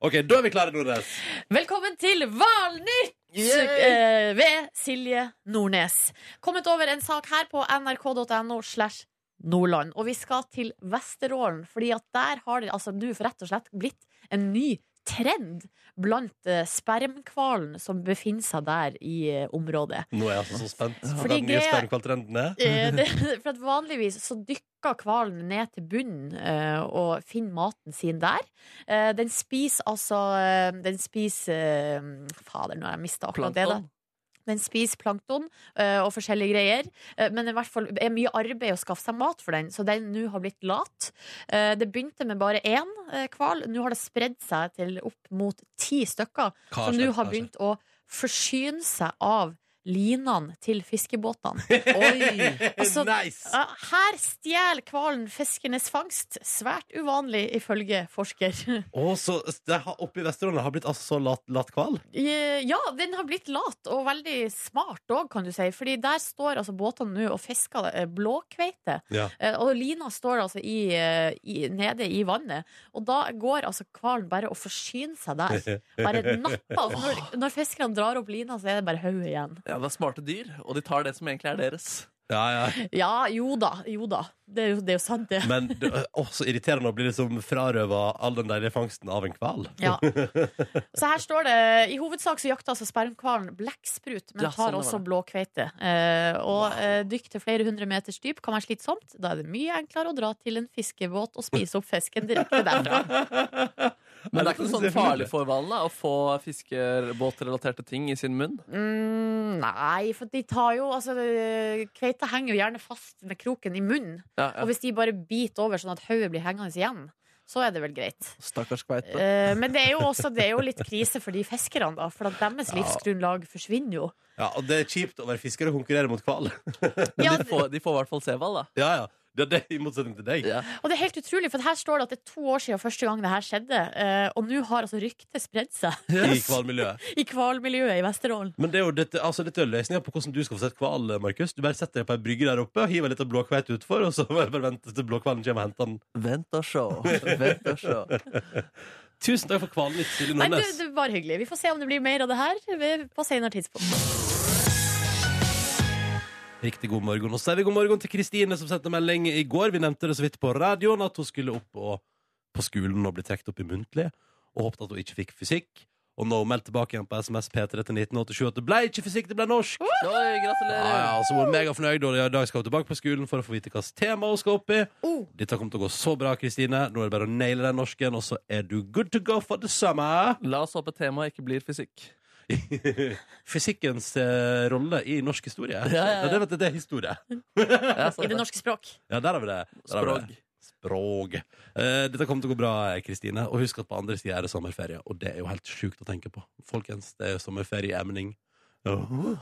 S1: OK, da er vi klare, Nordnes.
S2: Velkommen til Valnytt eh, ved Silje Nordnes. Kommet over en sak her på nrk.no slash Nordland. Og vi skal til Vesterålen, fordi at der har det altså nå rett og slett blitt en ny trend blant eh, spermhvalen som befinner seg der i eh, området.
S1: Nå er jeg altså så spent på
S2: Fordi
S1: den nye
S2: det-
S1: steinkvaldtrenden er.
S2: Eh, det, for at vanligvis så dykker hvalen ned til bunnen eh, og finner maten sin der. Eh, den spiser altså eh, Den spiser eh, Fader, nå har jeg mista akkurat det. da
S3: Plankton.
S2: Den spiser plankton eh, og forskjellige greier. Eh, men det er i hvert fall er mye arbeid å skaffe seg mat for den, så den nå har blitt lat. Eh, det begynte med bare én eh, hval. Nå har det spredd seg til opp mot ti stykker
S1: Hva
S2: som
S1: skjer?
S2: nå har
S1: Hva skjer?
S2: begynt å forsyne seg av linene til fiskebåtene.
S3: Oi!
S2: Altså,
S7: nice!
S2: Ja, Her stjeler hvalen fiskenes fangst. Svært uvanlig, ifølge forsker.
S1: Å, så det har, oppe i Vesterålen har blitt altså så lat, latt kval?
S2: Eh, Ja, den har blitt lat og veldig smart òg, kan du si. Fordi der står altså båtene nå og fisker eh, blåkveite.
S1: Ja.
S2: Eh, Og lina står altså i, eh, i, nede i vannet. Og da går altså hvalen bare og forsyner seg der. Bare napper. Og Når, når fiskerne drar opp lina, så er det bare hodet igjen.
S3: Ja, det er smarte dyr, og de tar det som egentlig er deres.
S1: Ja, ja.
S2: Ja, jo da. Jo da. Det er jo, det er jo sant, det.
S1: Men det er også irriterende å bli liksom frarøva all den deilige fangsten av en hval.
S2: Ja. Så her står det I hovedsak så jakter altså spermhvalen blekksprut, men
S3: Ja, sånn
S2: tar
S3: det var
S2: også
S3: det.
S2: blåkveite. Eh, og eh, dykk til flere hundre meters dyp kan være slitsomt. Da er det mye enklere å dra til en fiskebåt og spise opp fisken direkte derfra.
S3: Men det er ikke noe sånn farlig for hvalen da, å få fiskebåtrelaterte ting i sin munn.
S2: Mm, nei, for de tar jo Altså, eh, kveita henger jo gjerne fast med kroken i munnen.
S3: Ja,
S2: Og
S3: ja.
S2: hvis de bare biter over sånn at hodet blir hengende igjen, så er det vel greit.
S3: Stakkars kveite.
S2: Eh, men det er jo også det er jo litt krise for de fiskerne, da. For at deres livsgrunnlag forsvinner jo.
S1: Ja, og det er kjipt å være fisker og konkurrere mot hval.
S2: Ja,
S3: De får, de får i hvert fall se hval, da.
S1: Ja, ja. Det er det, I motsetning til deg.
S3: Ja.
S2: Og det er helt utrolig, for her står det at det er to år siden første gang det her skjedde. eh, Og nå har altså ryktet spredd seg
S1: I hvalmiljøet.
S2: i hvalmiljøet i Vesterålen.
S1: Men det er jo dette, altså, dette er løsninga på hvordan du skal få sett hval, Markus. Du bare setter deg på ei brygge der oppe og hiver litt av blåkveit utfor, og så bare venter til blåkvalen kommer og henter den.
S3: Vent og sjå. Vent og sjå.
S1: Tusen takk for hvalen litt, Silje
S2: Nei, du,
S1: Nordnes.
S2: det var hyggelig. Vi får se om det blir mer av det her ved- på senere tidspunkt.
S1: Riktig god morgen. Og så er vi god morgen til Kristine, som sendte melding i går. Vi nevnte det så vidt på radioen at hun skulle opp og, på skolen og bli trukket opp i muntlig, og håpet at hun ikke fikk fysikk. Og nå meldte tilbake igjen på SMS P3 til 1987 at det ble ikke fysikk, det ble norsk.
S3: Oi,
S1: Ja,
S3: gratulerer.
S1: ja, så hun er megafornøyd, og i dag skal hun tilbake på skolen for å få vite hvilket tema hun skal opp i.
S2: Oh.
S1: Dette kommer til å gå så bra, Kristine. Nå er det bare å naile den norsken, og så er du good to go for det samme.
S3: La oss håpe temaet ikke blir fysikk.
S1: Fysikkens eh, rolle i norsk historie.
S3: ja, ja.
S1: det, vet du, det er historie.
S3: Ja,
S2: I
S3: sant
S2: det
S3: det.
S2: norske språk.
S1: Ja, der har vi det. Der har vi det.
S3: Språk.
S1: Språk. Eh, dette kommer til å gå bra, Kristine. Og husk at på andre sida er det sommerferie, og det er jo helt sjukt å tenke på. Folkens, det er jo sommerferieemning.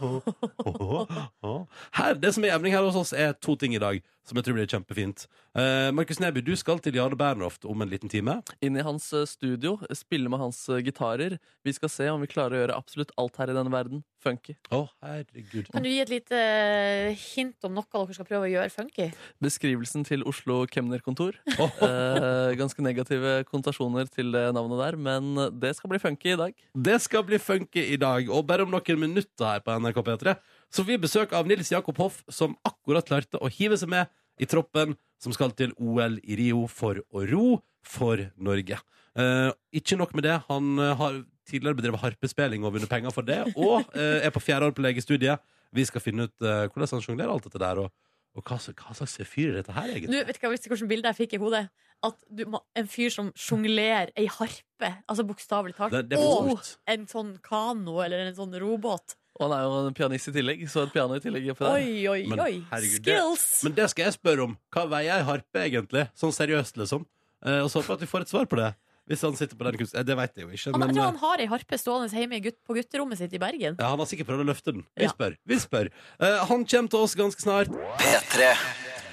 S1: Her, det som er emning her hos oss, er to ting i dag som jeg tror blir kjempefint. Eh, Markus Neby, du skal til Jarle Bernhoft om en liten time.
S3: Inn i hans eh, studio, spille med hans eh, gitarer. Vi skal se om vi klarer å gjøre absolutt alt her i denne verden funky.
S1: Å, herregud.
S2: Kan du gi et lite eh, hint om noe dere skal prøve å gjøre funky?
S3: Beskrivelsen til Oslo kemnerkontor.
S1: Åh,
S3: Eh, ganske negative konnotasjoner til det navnet der, men det skal bli funky i dag.
S1: Det skal bli funky i dag, og bare om noen minutter her på NRK P3 så får vi besøk av Nils Jakob Hoff, som akkurat klarte å hive seg med i troppen som skal til OL i Rio for å ro for Norge. Eh, ikke nok med det, han eh, har tidligere bedrevet harpespilling og vunnet penger for det, og eh, er på fjerde år på legestudiet. Vi skal finne ut eh, hvordan han sjonglerer alt dette der, og, og hva, slags- hva slags fyr er dette her, egentlig?
S2: Du, vet ikke hvilket bilde jeg fikk i hodet? At du, må- en fyr som sjonglerer ei harpe, altså bokstavelig talt,
S1: Det- det er for
S2: og
S1: stort.
S2: en sånn kano eller en sånn robåt.
S3: Og han er jo en pianist i tillegg, så et piano i tillegg oppi der.
S2: Oi, oi,
S1: Men
S2: oi.
S1: herregud, det-
S2: Skills!
S1: Men det skal jeg spørre om. Hva veier ei harpe, egentlig? Sånn seriøst, liksom. Eh, og så håper jeg at vi får et svar på det. Hvis han sitter på den kunsten. Eh, Det vet jeg jo ikke,
S2: Han,
S1: men
S2: jeg tror
S1: eh,
S2: han har ei harpe stående hjemme i gutt, på gutterommet sitt i Bergen.
S1: ja, han har sikkert prøvd å løfte den. Vi
S2: Ja.
S1: spør. Vi spør. Eh, han kommer til oss ganske snart.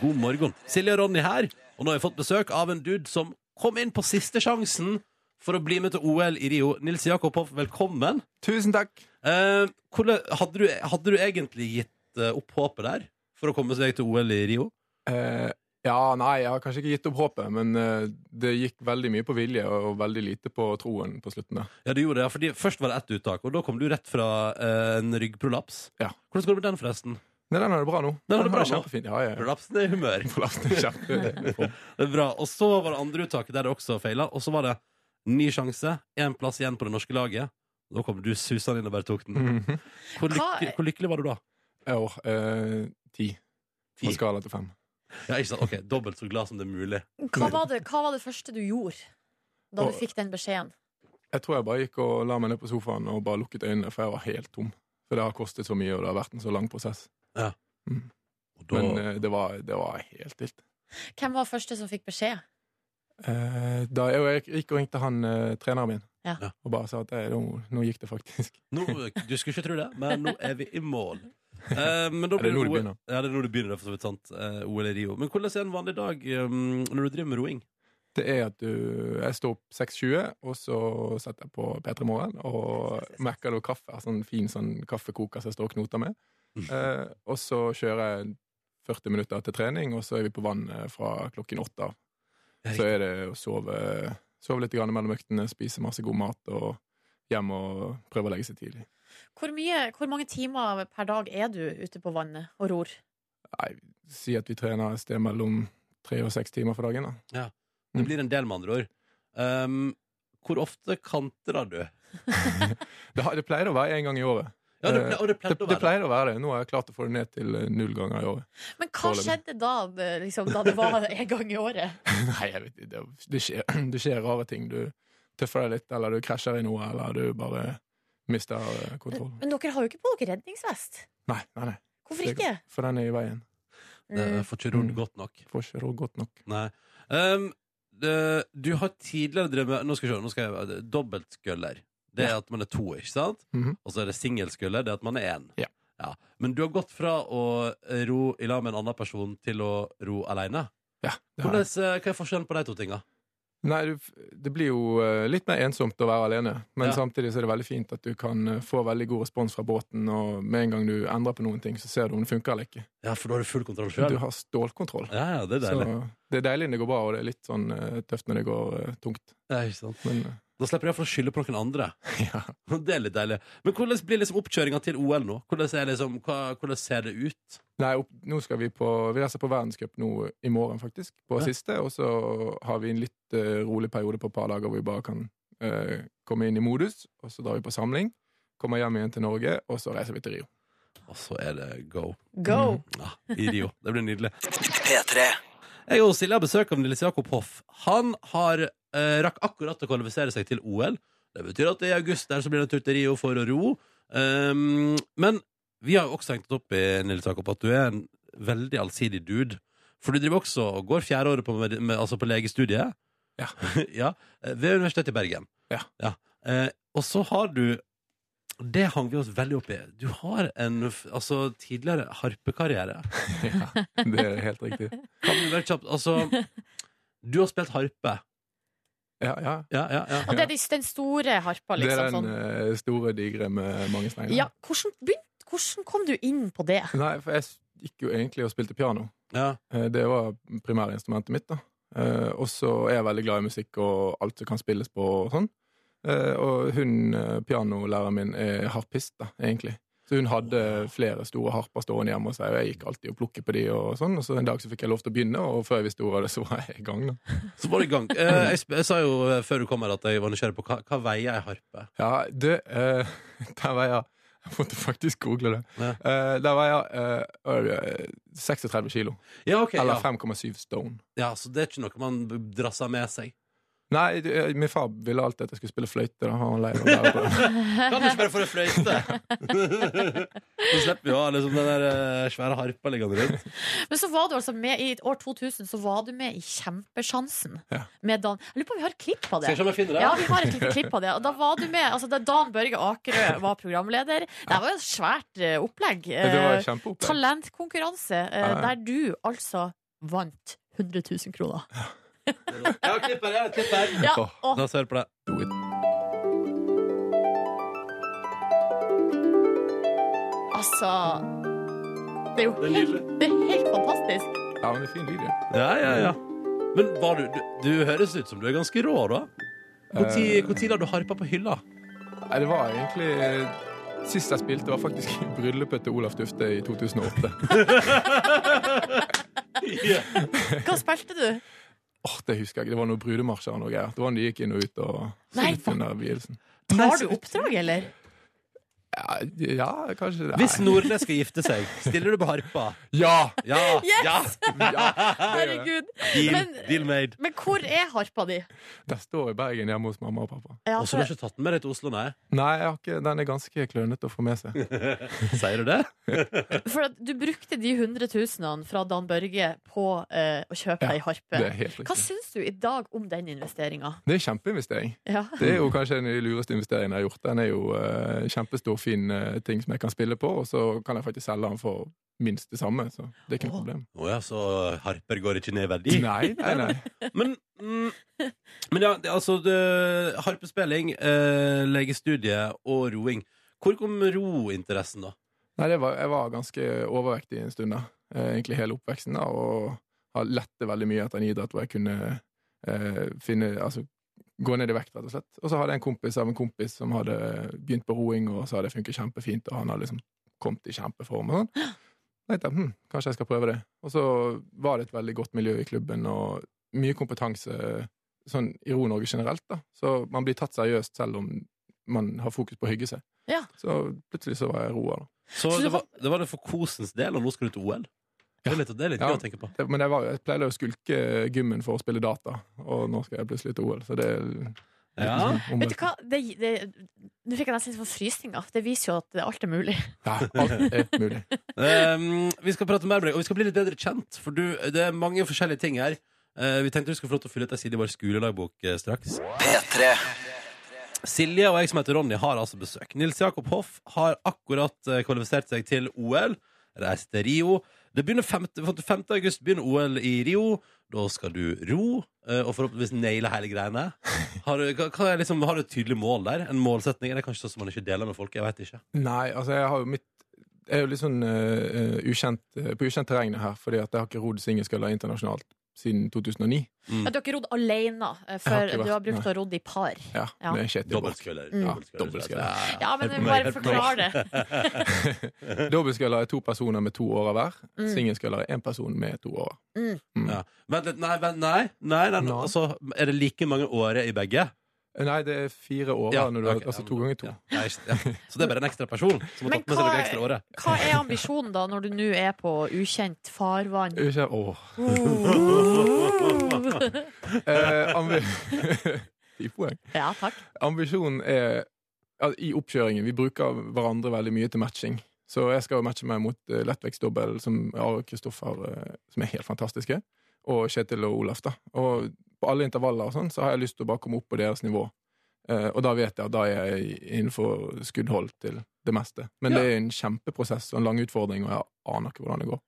S1: God morgen. Silje og Ronny her. Og nå har jeg fått besøk av en dude som kom inn på siste sjansen for å bli med til OL i Rio. Nils Jakob Hoff, velkommen.
S4: Tusen takk.
S1: Eh, hvordan, hadde, du, hadde du egentlig gitt eh, opp håpet der for å komme seg til OL i Rio?
S4: Eh, ja, nei, jeg har kanskje ikke gitt opp håpet, men eh, det gikk veldig mye på vilje og veldig lite på troen på slutten. da.
S1: Ja, du gjorde det, ja, fordi Først var det ett uttak, og da kom du rett fra eh, en ryggprolaps.
S4: Ja.
S1: Hvordan går det med den, forresten?
S4: Nei, den er det bra nå.
S1: Den er det bra nå.
S4: kjempefin. Ja, ja, ja.
S1: Prolapsen er humør.
S4: Prolapsen er kjempe...
S1: Det er bra. Og så var det andre uttaket der det også feila, og så var det ny sjanse, én plass igjen på det norske laget. Da kom du susende inn og bare tok
S8: Mm.
S1: den.
S4: Mhm.
S1: Hvor,
S2: Hva-
S1: lykke, hvor lykkelig var du da?
S4: Ja, og, eh, ti.
S1: Ti.
S4: På skala til fem.
S1: Ja, ikke sant? Ok, Dobbelt så glad som det er mulig.
S2: Hva var det, hva var det første du gjorde da du
S4: Å.
S2: fikk den beskjeden?
S4: Jeg tror jeg bare gikk og la meg ned på sofaen og bare lukket øynene, for jeg var helt tom. For det har kostet så mye, og det har vært en så lang prosess.
S1: Og da,
S8: eh,
S4: Men eh, det, var, det var helt vilt.
S2: Hvem var første som fikk beskjed?
S8: Eh, da jeg, jeg gikk og ringte han eh, treneren min
S2: Ja.
S1: Ja.
S8: og bare sa at eh, nå, nå gikk det faktisk.
S1: Nå, du skulle ikke tro det, men nå er vi i mål. Eh, men da
S8: Er det
S1: blir
S8: nå det
S1: OL
S8: begynner?
S1: Ja, det er nå det begynner, det er for så vidt sant. Eh, OL i Rio. Men hvordan er en vanlig dag um, når du driver med roing?
S8: Det er at du Jeg står opp 6.20, og så setter jeg på P3 Morgen og mekker noe kaffe. Sånn fin sånn kaffekoker som jeg står og knoter med. Eh, og så kjører jeg 40 minutter til trening, og så er vi på vannet fra klokken åtte av.
S1: Det er
S8: Så er det å sove, sove litt grann mellom øktene, spise masse god mat og hjem og prøve å legge seg tidlig.
S2: Hvor, mye, hvor mange timer per dag er du ute på vannet og ror?
S8: Nei, si at vi trener et sted mellom tre og seks timer for dagen, da.
S1: Det blir en del, med andre ord. Um, hvor ofte kantrer du?
S8: Det, har- det pleier å være én gang i året. Eh,
S1: Ja, det, ple- og det pleide
S8: Det,
S1: å
S8: det
S1: være
S8: pleier å være det. Nå har jeg klart å få det ned til eh, null ganger i året.
S2: Men hva
S8: Foreløpig.
S2: skjedde da, det- liksom, da det var en gang i året?
S8: Nei, jeg vet ikke. Det, det, skjer, det skjer rare ting. Du tøffer deg litt, eller du krasjer i noe, eller du bare mister eh, kontroll.
S2: Men dere har jo ikke på dere redningsvest.
S1: Eh,
S8: Nei, nei, nei.
S2: Hvorfor
S8: Det-
S2: ikke?
S8: For den er i veien.
S1: det. Får ikke rodd
S8: Mm.
S1: godt nok.
S8: Får ikke råd godt nok.
S1: Nei. Um, det, du har tidligere drevet med Nå skal jeg se, nå skal jeg dobbeltskøller. Det er at man er to, ikke sant?
S8: Mhm.
S1: Og så er det singelskuller, det er at man er én.
S8: Ja.
S1: Men du har gått fra å ro i lag med en annen person til å ro aleine.
S8: Ja, det har
S1: Hvordan-
S8: jeg.
S1: eh, Hva er forskjellen på de to tinga?
S8: Nei, du, f- det blir jo eh, litt mer ensomt å være alene, men
S1: Ja.
S8: samtidig så er det veldig fint at du kan eh, få veldig god respons fra båten, og med en gang du endrer på noen ting, så ser du om det funker eller ikke.
S1: Ja, for da har du full kontroll
S8: Du
S1: sjøl.
S8: har stålkontroll.
S1: Ja, ja, det er deilig.
S8: Så det er deilig når det går bra, og det er litt sånn eh, tøft når det går eh, tungt.
S1: Ja, ikke sant?
S8: Men eh,
S1: Da slipper jeg iallfall å skylde på noen andre.
S8: ja.
S1: Det er litt deilig. Men hvordan blir liksom oppkjøringa til OL nå? Hvordan, er liksom, hva, hvordan ser det ut?
S8: Nei, opp, nå skal vi på Vi reiser på verdenscup nå i morgen, faktisk. På
S1: Ja.
S8: siste. Og så har vi en litt eh, rolig periode på et par dager hvor vi bare kan eh, komme inn i modus. Og så drar vi på samling, kommer hjem igjen til Norge, og så reiser vi til Rio.
S1: Og så er det go.
S2: Go!
S8: Mm.
S1: Ja, I Rio. Ah, Det blir nydelig. Jeg og Silje har besøk av Nils Jakob Hoff. Han har eh, rakk akkurat å kvalifisere seg til OL. Det betyr at i august der så blir det en tur til Rio for å ro. Um, men vi har jo også hengt opp i Nils Jakob at du er en veldig allsidig dude. For du driver også og går fjerde året på, med, med, altså på legestudiet.
S8: Ja.
S1: Ja, eh, Ved Universitetet i Bergen.
S8: Ja.
S1: Eh, og så har du Det hang vi oss veldig opp i. Du har en f- altså, tidligere harpekarriere.
S8: ja, det er helt riktig.
S1: Kan vi være kjapt Altså, du har spilt harpe.
S8: Ja, ja.
S1: Ja, ja, ja.
S2: Og det er de- den store harpa,
S8: Det er
S2: liksom.
S8: den
S2: Sånn.
S8: eh, store, digre med mange steiner.
S2: Ja, hvordan, begynt, hvordan kom du inn på det?
S8: Nei, for jeg s- gikk jo egentlig og spilte piano.
S1: ja.
S8: Eh, Det var primærinstrumentet mitt. da Eh, Og så er jeg veldig glad i musikk og alt som kan spilles på og sånn. Eh, Og hun eh, pianolæreren min er harpist, da, egentlig. Så hun hadde flere store harper stående hjemme hos seg, og jeg gikk alltid og plukket på de og sånn. Og så en dag så fikk jeg lov til å begynne, og før jeg visste ordet av det, så var jeg i gang, da.
S1: Så var det i gang. Eh, jeg, sp- jeg sa jo eh, før du kom her at jeg var nysgjerrig på hva, hva veier ei harpe.
S8: Ja, det eh, Der var jeg Jeg måtte faktisk google det.
S1: Ja.
S8: Eh, der var jeg eh, 36 kilo.
S1: Ja, ok. Ja.
S8: Eller 5,7 stone.
S1: ja, Så det er ikke noe man drasser med seg.
S8: Nei, du- eh, min far ville alltid at jeg skulle spille fløyte. Da. Han var lei av å lære på det.
S1: Kan du ikke bare få deg fløyte? Så slipper vi å ha liksom, den der eh, svære harpa liggende rundt.
S2: Men så var du altså med i år 2000 Så var du med i Kjempesjansen.
S8: Ja.
S2: Med Dan. Jeg lurer på om vi har et klipp av
S1: Skal jeg
S2: det.
S1: se om jeg finner det?
S2: Ja, vi har et lite klipp av det. Og da var du med, altså da Dan Børge Akerø var programleder. Det var jo et svært eh, opplegg.
S8: Det var
S2: Eh,
S8: et kjempeopplegg.
S2: Talentkonkurranse eh,
S8: Ja, ja.
S2: der du altså vant 100 000 kroner.
S1: Jeg har klipp her, jeg har klipp her.
S2: Ja,
S8: Åh.
S2: og
S1: La oss høre på det.
S2: altså Det er jo
S1: Det er
S2: helt, det er helt fantastisk.
S8: Ja, men det er fin lyd, ja.
S1: Ja, ja, ja. Men var du, du, du høres ut som du er ganske rå, da. Når
S8: Eh.
S1: la du harpa på hylla?
S8: Nei, det var egentlig eh, Sist jeg spilte, var faktisk i bryllupet til Olaf Dufte i 2008. Åh,
S2: Hva spilte du?
S8: Det husker jeg ikke. Det var noen brudemarsjer og noe greier. Det var når de gikk inn og ut og
S2: Nei,
S8: under vielsen.
S2: Tar du oppdrag, eller?
S8: Ja, ja kanskje det.
S1: Hvis Nordnes skal gifte seg, stiller du på harpa?
S8: Ja!
S1: Ja!
S2: Yes!
S1: ja
S8: ja.
S2: Herregud.
S1: deal,
S2: Men-
S1: deal made.
S2: Men hvor er harpa di?
S8: Der står i Bergen hjemme hos mamma og pappa.
S2: Ja,
S1: Og så har du ikke tatt den med deg til Oslo, nei?
S8: Nei, jeg har ikke, den er ganske klønete å få med seg.
S1: Sier du det?
S2: For at du brukte de hundretusenene fra Dan Børge på eh, å kjøpe
S8: Ja,
S2: ei harpe.
S8: Det er helt
S2: Hva
S8: riktig.
S2: syns du i dag om den investeringa?
S8: Det er kjempeinvestering.
S2: Ja.
S8: Det er jo kanskje den lureste investeringen jeg har gjort. Den er jo eh, kjempestor, fin eh, ting som jeg kan spille på, og så kan jeg faktisk selge den for minst det samme. Så det er ikke
S2: Åh.
S8: noe problem.
S1: Å ja, så harper går ikke ned i verdi?
S8: Nei, nei, nei.
S1: Men, mm, men ja, det, altså det, Harpespilling, eh, legestudie og roing. Hvor kom rointeressen, da?
S8: nei det var, jeg var ganske overvektig en stund, da. Eh, egentlig hele oppveksten, da, og har lette veldig mye etter en idrett hvor jeg kunne eh, finne Altså gå ned i vekt, rett og slett. Og så hadde jeg en kompis av en kompis som hadde begynt på roing, og så hadde det funket kjempefint, og han hadde liksom kommet i kjempeform og sånn. Da tenkte jeg hm, kanskje jeg skal prøve det. Og så var det et veldig godt miljø i klubben, og mye kompetanse sånn i Ro-Norge generelt, da. Så man blir tatt seriøst selv om man har fokus på å hygge seg.
S2: Ja.
S8: Så plutselig så var jeg roer, da.
S1: Så det var, det var det for kosens del, og nå skal du til OL? Det
S8: Ja.
S1: er litt, det er litt
S8: Ja.
S1: gøy å tenke på.
S8: Det- Men jeg, var, jeg pleide å skulke gymmen for å spille data, og nå skal jeg plutselig til OL. Så det er sånn
S1: Ja.
S8: om-
S2: Vet du hva? Det, det, nå fikk jeg nesten litt sånn frysninger. Det viser jo at det- alt er mulig.
S8: Ja, alt er mulig.
S1: Um, vi skal prate mer med deg, og vi skal bli litt bedre kjent. For du, det er mange forskjellige ting her. Eh, vi tenkte du skulle få lov til å fylle ut ei side i vår skolelagbok eh, straks. Silje og jeg som heter Ronny, har altså besøk. Nils Jakob Hoff har akkurat eh, kvalifisert seg til OL. Reist til Rio. Det begynner 5. for 5. august begynner OL i Rio. Da skal du ro, eh, og forhåpentligvis naile hele greiene. Har du, hva, hva er liksom, har du et tydelig mål der? En målsetning? Det er kanskje sånn som man ikke deler med folk. Jeg vet ikke.
S8: Nei, altså jeg har jo mitt Jeg er jo litt sånn eh, eh, ukjent, eh, på ukjent terreng her, fordi at jeg har ikke rodd singelskøller internasjonalt siden 2009.
S2: Ja, du har ikke rodd alene, eh,
S8: har
S2: for
S8: ikke vært-
S2: du har brukt
S8: nei.
S2: å rodde i par.
S8: Ja,
S2: Ja.
S8: det er skjedd.
S1: Dobbeltskuller.
S2: Mm.
S8: Ja,
S1: altså.
S8: dobbeltskuller.
S2: Ja, men
S1: Hør på meg,
S2: bare
S1: hør på meg.
S2: forklar det.
S8: Dobbeltsculler er to personer med to årer hver.
S2: Mm.
S8: Singelskøller er én person med to årer.
S1: Ja. Vent litt, nei, vent, nei, nei, nei,
S8: Nei.
S1: Altså, Er det like mange åre i begge?
S8: Eh, Nei, det er fire årer
S1: Ja,
S8: når du har
S1: ok,
S8: Altså
S1: ja,
S8: to
S1: men-
S8: ganger to.
S1: ja. Nei, just- ja. Så det er bare en ekstra person som har
S2: Men
S1: tatt med seg
S2: hva
S1: noen
S2: er-
S1: ekstra åre?
S2: Hva er ambisjonen da, når du nå er på ukjent farvann?
S8: Ikke, åh.
S2: Oh.
S8: Eh, ambi Ti poeng.
S2: Ja, takk.
S8: Ambisjonen er altså, I oppkjøringen Vi bruker hverandre veldig mye til matching. Så jeg skal jo matche meg mot uh, lettvektsdobbel, som Are og Kristoffer, eh, som er helt fantastiske, og Kjetil og Olaf. da Og på alle intervaller og sånn, så har jeg lyst til å bare komme opp på deres nivå. Eh, og da vet jeg at da er jeg innenfor skuddhold til det meste. Men det er en kjempeprosess og en lang utfordring, og jeg aner ikke hvordan det går.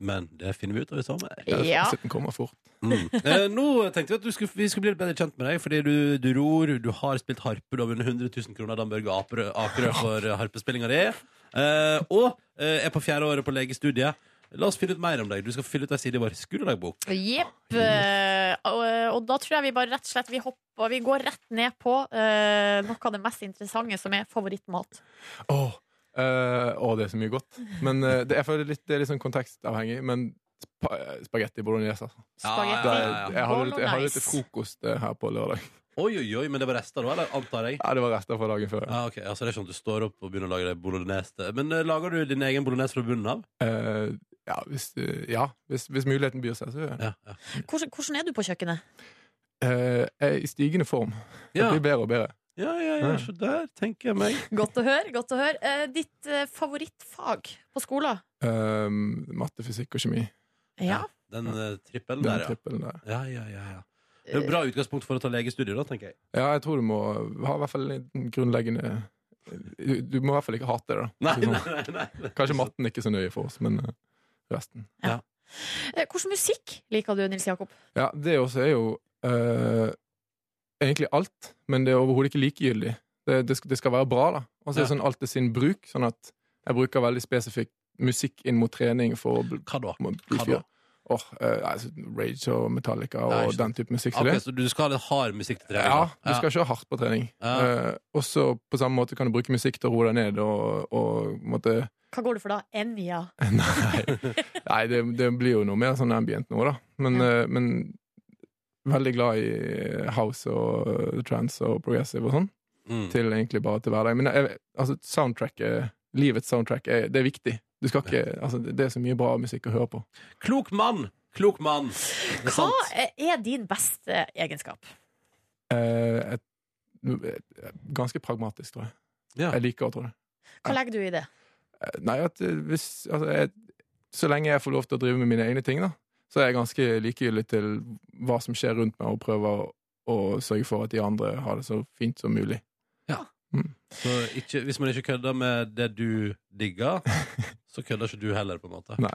S1: Men det finner vi ut av i sommer.
S2: Ja.
S8: Sitten kommer fort.
S1: Mm. Eh, nå tenkte vi at du skulle, vi skulle bli litt bedre kjent med deg, fordi du, du ror, du har spilt harpe, du har vunnet 100 000 kroner av Dan Børge Aperø- Akerø for eh, harpespillinga di, eh, og eh, er på fjerde året på legestudiet. La oss finne ut mer om deg. Du skal fylle ut ei side i vår skolelagbok.
S2: Jepp. eh, Og, og da tror jeg vi bare rett og slett vi hopper Vi går rett ned på eh, noe av det mest interessante, som er favorittmat.
S8: Åh, eh, åh, det er så mye godt. Men eh, det, jeg føler litt, det er litt sånn kontekstavhengig. Men spa, eh, spagetti bolognese, altså.
S2: Spagetti.
S8: Det
S1: Ja,
S8: er,
S1: ja, ja.
S8: jeg hadde litt, jeg hadde litt
S2: Bolognese.
S8: frokost eh, her på lørdag.
S1: Oi, oi, oi, men det var rester da, eller antar jeg?
S8: Ja, det var rester fra dagen før.
S1: Ja, ok, altså Det er sånn at du står opp og begynner å lage deg bolognese. til- Men eh, lager du din egen bolognese fra bunnen av?
S8: Eh, ja, hvis, eh, ja hvis, hvis muligheten byr seg, så gjør jeg
S1: Ja,
S8: det.
S1: ja.
S2: Hvordan, hvordan er du på kjøkkenet?
S8: Eh, jeg er i stigende form. Det
S1: Ja,
S8: blir bedre og bedre.
S1: ja, ja, ja så der tenker jeg meg.
S2: Godt å høre. godt å høre Eh, Ditt eh, favorittfag på skolen?
S8: Eh, matte, fysikk og kjemi.
S2: Ja.
S1: Den eh, trippelen
S8: Den
S1: der, ja.
S8: trippelen der.
S1: Ja, ja, ja, ja. Det er et bra utgangspunkt for å ta legestudiet, da, tenker jeg.
S8: Ja, jeg tror du må ha i hvert fall en grunnleggende eh, du, du må i hvert fall ikke hate det, da.
S1: Nei,
S8: Sånn.
S1: nei, nei, nei.
S8: Kanskje matten ikke er så nøye for oss, men eh, resten.
S2: Eh, Hvordan musikk liker du, Nils Jakob?
S8: Ja, det også er jo eh, egentlig alt, men det er overhodet ikke likegyldig. Det, det, skal, det skal være bra, da. Og så er det sånn alt er sin bruk, sånn at jeg bruker veldig spesifikk musikk inn mot trening for å bl-
S1: Hva da?
S8: må bli
S1: Hva
S8: fyr.
S1: da?
S8: Åh, eh, altså, Rage og Metallica og
S1: Nei, ikke
S8: den type musikk som
S1: Ok,
S8: det.
S1: så du skal ha litt hard musikk til trening?
S8: Ja,
S1: da?
S8: du skal kjøre hardt på trening.
S1: Ja.
S8: Eh, og så på samme måte kan du bruke musikk til å roe deg ned og, og på en måte
S2: Hva går du for da? Enja?
S8: Nei, Nei det, det blir jo noe mer sånn ambient nå, da. Men, eh, men eh, veldig glad i house og trance og eh, progressive og sånn.
S1: Mm.
S8: til egentlig bare til hverdag. Men jeg, altså, soundtracket, livets soundtrack, er, det er viktig. Du skal ikke, altså, det det er så mye bra musikk å høre på.
S1: Klok mann! Klok mann. Det er
S2: Hva
S1: sant.
S2: er din beste egenskap?
S8: Eh, et, ganske pragmatisk, tror jeg.
S1: Ja.
S8: Jeg liker å tro det.
S2: Hva legger du i det?
S8: Eh, Nei, at eh, hvis altså, jeg, Så lenge jeg får lov til å drive med mine egne ting, da, så er jeg ganske likegyldig til hva som skjer rundt meg, og prøver å, å sørge for at de andre har det så fint som mulig.
S1: Så ikke, hvis man ikke kødder med det du digger, så kødder ikke du heller, på en måte.
S8: Nei.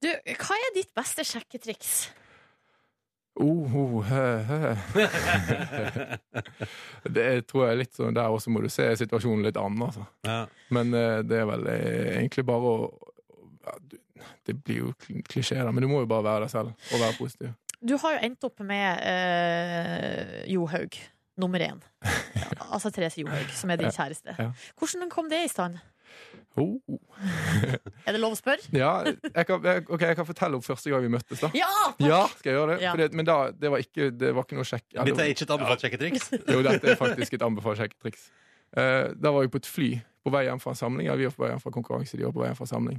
S2: Du, hva er ditt beste sjekketriks?
S8: Oh, oh, hø, hø. det er, tror jeg er litt sånn Der også må du se situasjonen litt an, altså.
S1: Ja.
S8: Men eh, det er vel eh, egentlig bare å ja, du- Det blir jo kl- klisjé, da, men du må jo bare være deg selv og være positiv.
S2: Du har jo endt opp med eh, Johaug, nummer én. Altså Therese Johaug, som er din kjæreste.
S8: Ja.
S2: Hvordan kom det i stand?
S8: Oh.
S2: Er det lov å spørre?
S8: Ja, jeg kan, jeg, ok, jeg kan fortelle om første gang vi møttes, da.
S2: Ja!
S8: Ja, skal jeg gjøre det?
S2: Ja.
S8: Fordi, at- men da, det var ikke, det var ikke noe sjekk. ja, det
S1: Dette
S8: var-
S1: er ikke et anbefalt sjekketriks.
S8: Jo, dette er faktisk et anbefalt sjekketriks. Eh, da var jeg på et fly på vei hjem fra en samling. Ja, vi var på vei hjem fra konkurranse, de var på vei hjem fra samling.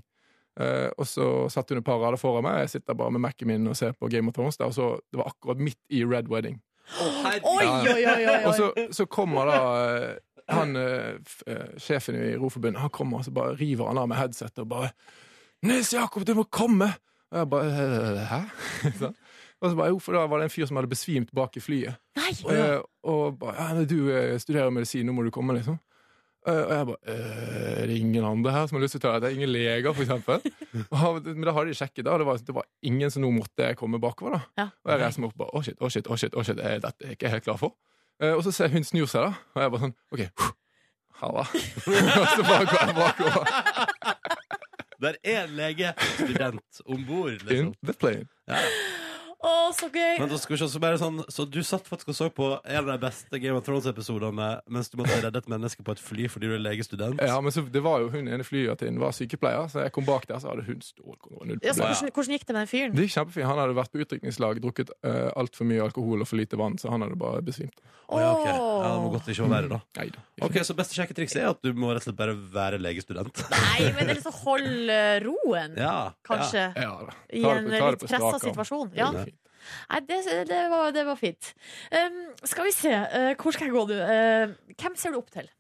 S8: Eh, og så satt hun et par rader foran meg, og jeg sitter bare med Mac-en min og ser på Game of Thrones. Der, og så, det var akkurat midt i Red Wedding.
S2: Oi, oi, oi! oi,
S8: Og
S2: oi.
S8: så, så kommer da eh, han eh, f- eh, sjefen i Roforbundet, han kommer og så bare river han av meg headsetet og bare 'Nils Jakob, du må komme!' Og jeg bare «Eh, Hæ? Sånn. og så bare, jo, for da var det en fyr som hadde besvimt bak i flyet.
S2: Nei!
S8: Eh, og bare ja, men 'Du eh, studerer medisin, nå må du komme', liksom. Eh, og jeg bare «Eh, Er det ingen andre her som har lyst til å ta det? Det er ingen leger, for eksempel. Og han- Men da hadde de sjekket, da. og Det var, det var ingen som nå måtte jeg komme bakover, da.
S2: Ja.
S8: Og jeg reiser meg opp og bare 'Å, shit, å, shit, å, shit, å, shit, eh, dette er ikke jeg helt klar for'. Eh, og så ser jeg hun snur seg, da, og jeg bare sånn OK. Halla. og så bare går jeg bakover.
S1: Der er en legestudent om bord, liksom.
S8: In the plane.
S2: Å, så gøy!
S1: Men da skal vi se, så, bare sånn, så du satt faktisk og så på en av de beste Game of Thrones-episodene mens du måtte redde et menneske på et fly fordi du er legestudent?
S8: Ja, men så, det var jo hun ene flyvertinnen var sykepleier, så jeg kom bak der, så hadde hun stålkontroll. null
S2: Ja, så
S8: problem.
S2: hvordan, hvordan gikk det med den fyren?
S8: Det gikk kjempefint. Han hadde vært på utdrikningslag, drukket uh, altfor mye alkohol og for lite vann, så han hadde bare besvimt.
S1: Å, ja, ok. ja, det må godt ikke være verre, da.
S8: Neida.
S1: Ok, Så beste sjekketriks er at du må rett og slett bare være legestudent?
S2: Nei, men det er liksom hold eh, roen,
S1: Ja.
S2: kanskje.
S8: Ja, da.
S2: I
S8: Ta det
S2: en
S8: på- ta det
S2: litt
S8: på
S2: pressa
S8: strak arm.
S2: situasjon. Ja.
S8: Det er fint.
S2: Nei, det, det, var, det var fint. Um, skal vi se. eh, hvor skal jeg gå, du? Eh, hvem ser du opp til?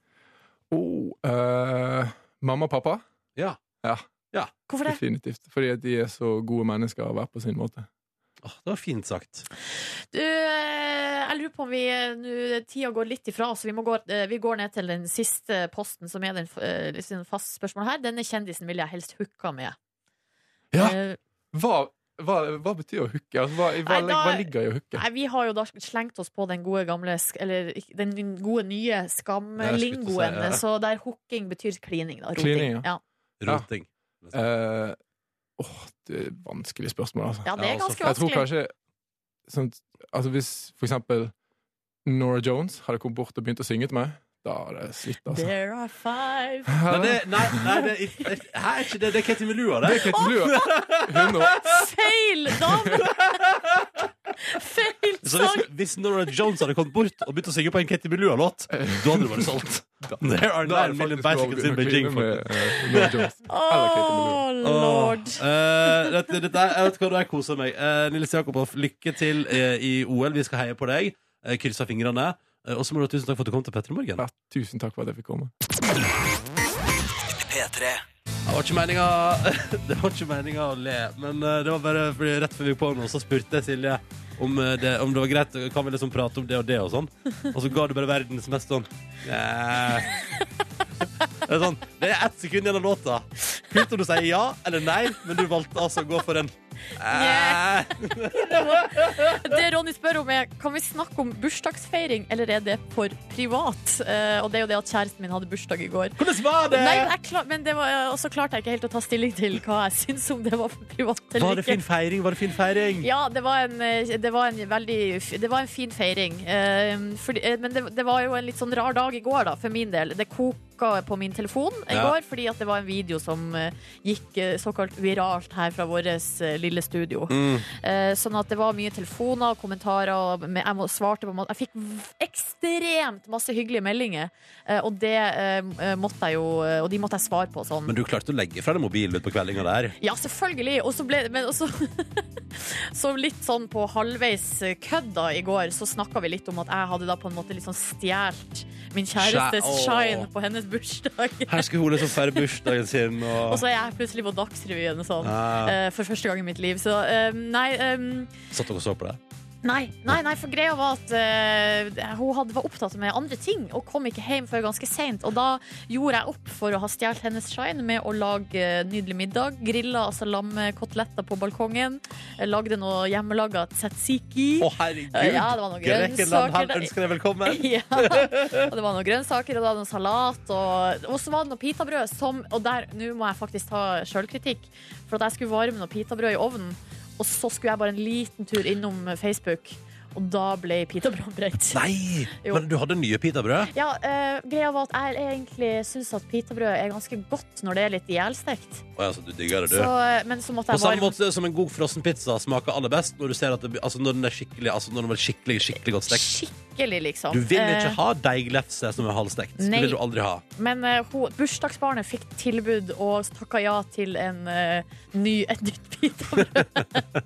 S8: Oh, eh, mamma og pappa?
S1: Ja.
S8: Ja,
S2: Hvorfor det?
S8: Definitivt. Fordi at de er så gode mennesker hver på sin måte.
S1: Åh, det var fint sagt.
S2: Du, eh, jeg lurer på om vi eh, nå- Tida går litt ifra oss, så vi, må gå, eh, vi går ned til den siste posten, som er den eh, liksom fast spørsmål her. Denne kjendisen ville jeg helst hooka med.
S8: Ja.
S2: Eh,
S8: Hva, hva, hva betyr å hooke? Altså, hva,
S2: Nei,
S8: hva,
S2: da-
S8: hva ligger i å hooke?
S2: Nei, vi har jo da slengt oss på den gode gamle sk- Eller ikke- den gode nye
S1: Jeg skulle til å si,
S2: skamlingoen.
S1: ja.
S2: Så der hooking betyr klining, da. Roting.
S8: Klining,
S2: ja.
S1: Roting.
S8: Eh, Åh, det er vanskelig spørsmål, altså.
S2: ja, det er
S1: Ja, altså,
S2: ganske
S8: Jeg tror
S2: vanskelig.
S8: kanskje sånn, Altså Hvis for eksempel Nora Jones hadde kommet bort og begynt å synge til meg, da hadde jeg slitt, altså.
S2: There are five
S1: Nei, det, nei, nei det, er ikke- hæ, er ikke det, det er Katie Melua, det.
S8: Det er Kate Blue. Hun og
S2: Feil dame! Feil
S1: Så hvis,
S2: sang!
S1: hvis Nora Jones hadde kommet bort og begynt å synge på en Katie Melua-låt, da hadde det vært solgt. There are
S8: Da er
S1: nine
S8: det
S1: million
S8: faktisk
S1: bicycles
S8: lov
S1: in
S8: å
S1: Beijing.
S8: kline
S1: folk.
S8: med, eh, Nora Jones.
S2: Å,
S8: Eller Kate Melua.
S2: lord.
S1: Åh, eh, dette, dette, er- jeg vet hva, nå har jeg koset meg. Eh, Nils Jakobov, lykke til eh, i OL. Vi skal heie på deg. Uh, Kryssa fingrene. Eh, og så må du ha tusen takk for at du kom til Petter i morgen.
S8: Ja, tusen takk for at jeg fikk komme.
S1: Det var ikke meninga Det var ikke meninga å le, men eh, det var bare fordi rett før vi gikk på nå, så spurte jeg Silje om, eh, det, om det var greit. Kan vi liksom prate om det og det og sånn? Og så ga du bare verdens mest sånn «Nei». Det er sånn Det er ett sekund igjen av låta. Kult om du sier ja eller nei, men du valgte altså å gå for en
S2: Yeah. Det Ronny spør om, er kan vi snakke om bursdagsfeiring, eller er det for privat? Eh, og det er jo det at kjæresten min hadde bursdag i går.
S1: Hvordan var det?
S2: Nei, men, jeg klar, men det var, eh, og så klarte jeg ikke helt å ta stilling til hva jeg syns om det var for privat
S1: Var
S2: eller
S1: det
S2: ikke.
S1: fin feiring? Var det fin feiring?
S2: Ja, det var en, eh, det var en veldig f- Det Ehm, var en fin feiring. Eh, fordi, eh, men det, det var jo en litt sånn rar dag i går, da, for min del. Det koker klokka på min telefon i
S1: Ja.
S2: går, fordi at det var en video som eh, gikk eh, såkalt viralt her fra vårt lille studio.
S1: Mm.
S2: Eh, Sånn at det var mye telefoner og kommentarer. og me- Jeg må- svarte på en måte Jeg fikk v- ekstremt masse hyggelige meldinger, eh, og det eh, måtte jeg jo eh, Og de måtte jeg svare på sånn.
S1: Men du klarte å legge fra deg mobilen ut på kveldinga der.
S2: Ja, selvfølgelig. Og så ble Men også Så litt sånn på halvveis kødd da i går, så snakka vi litt om at jeg hadde da på en måte litt sånn stjålet min kjærestes
S1: Skjæ- Åh.
S2: shine på hennes bursdag.
S1: Her skulle hun liksom feire bursdagen sin
S2: Og
S1: og
S2: så er jeg plutselig på Dagsrevyen og sånn.
S1: ja.
S2: eh, For første gang i mitt liv. Så eh, nei, eh,
S1: Satt dere og så på det?
S2: nei, nei, nei, for greia var at eh, hun hadde, var opptatt med andre ting og kom ikke hjem før ganske seint. Og da gjorde jeg opp for å ha stjålet hennes shine med å lage eh, nydelig middag. Grilla altså lammekoteletter på balkongen. eh, Lagde noe hjemmelaga tzatziki.
S1: Å, herregud!
S2: Ja, det var noen
S1: Grekenland, han
S2: grønnsaker.
S1: ønsker deg velkommen!
S2: Ja. Og det var noen grønnsaker, og det var noen salat, og, og så var det noe pitabrød som Og der, nå må jeg faktisk ta sjølkritikk, for at jeg skulle varme noe pitabrød i ovnen, og så skulle jeg bare en liten tur innom Facebook, og da ble pitabrød brent.
S1: Nei!
S2: Jo.
S1: Men du hadde nye pitabrød?
S2: Ja, eh, greia var at jeg egentlig syns at pitabrød er ganske godt når det er litt ihjelstekt.
S1: Å, ja, så du digger det, du.
S2: Så, eh, men så måtte
S1: På
S2: jeg
S1: samme
S2: varme
S1: måte som en god frossen pizza smaker aller best når du ser at det, blir- altså når den er skikkelig, altså når den er skikkelig, skikkelig godt stekt.
S2: skikkelig, liksom.
S1: Du vil
S2: Eh,
S1: ikke ha deiglefse som er halvstekt. Det
S2: nei.
S1: vil du aldri ha.
S2: Men eh, ho- bursdagsbarnet fikk tilbud og takka ja til en, eh, ny, et nytt pitabrød.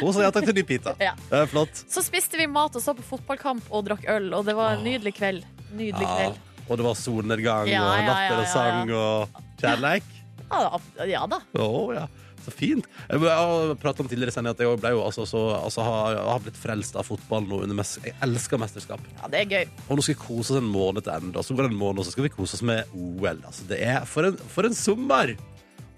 S1: Hun sa ja takk til ny pita.
S2: Ja.
S1: Det er flott.
S2: Så spiste vi mat og så på fotballkamp og drakk øl, og det var
S1: Ah.
S2: en nydelig kveld. Nydelig
S1: Ja.
S2: kveld.
S1: Og det var solnedgang
S2: Ja,
S1: og
S2: ja,
S1: latter
S2: ja,
S1: og
S2: ja,
S1: sang og kjærleik.
S2: Ja, da- ja da.
S1: Å ja. Så fint. Jeg må- jeg har pratet om tidligere i sendingen at jeg også ble jo altså, så, altså har, har blitt frelst av fotball nå under mes Jeg elsker mesterskap.
S2: Ja, det er gøy.
S1: Og nå skal vi kose oss en måned til enda. Så går det en måned, og så skal vi kose oss med OL. Altså, det er for en, for en sommer!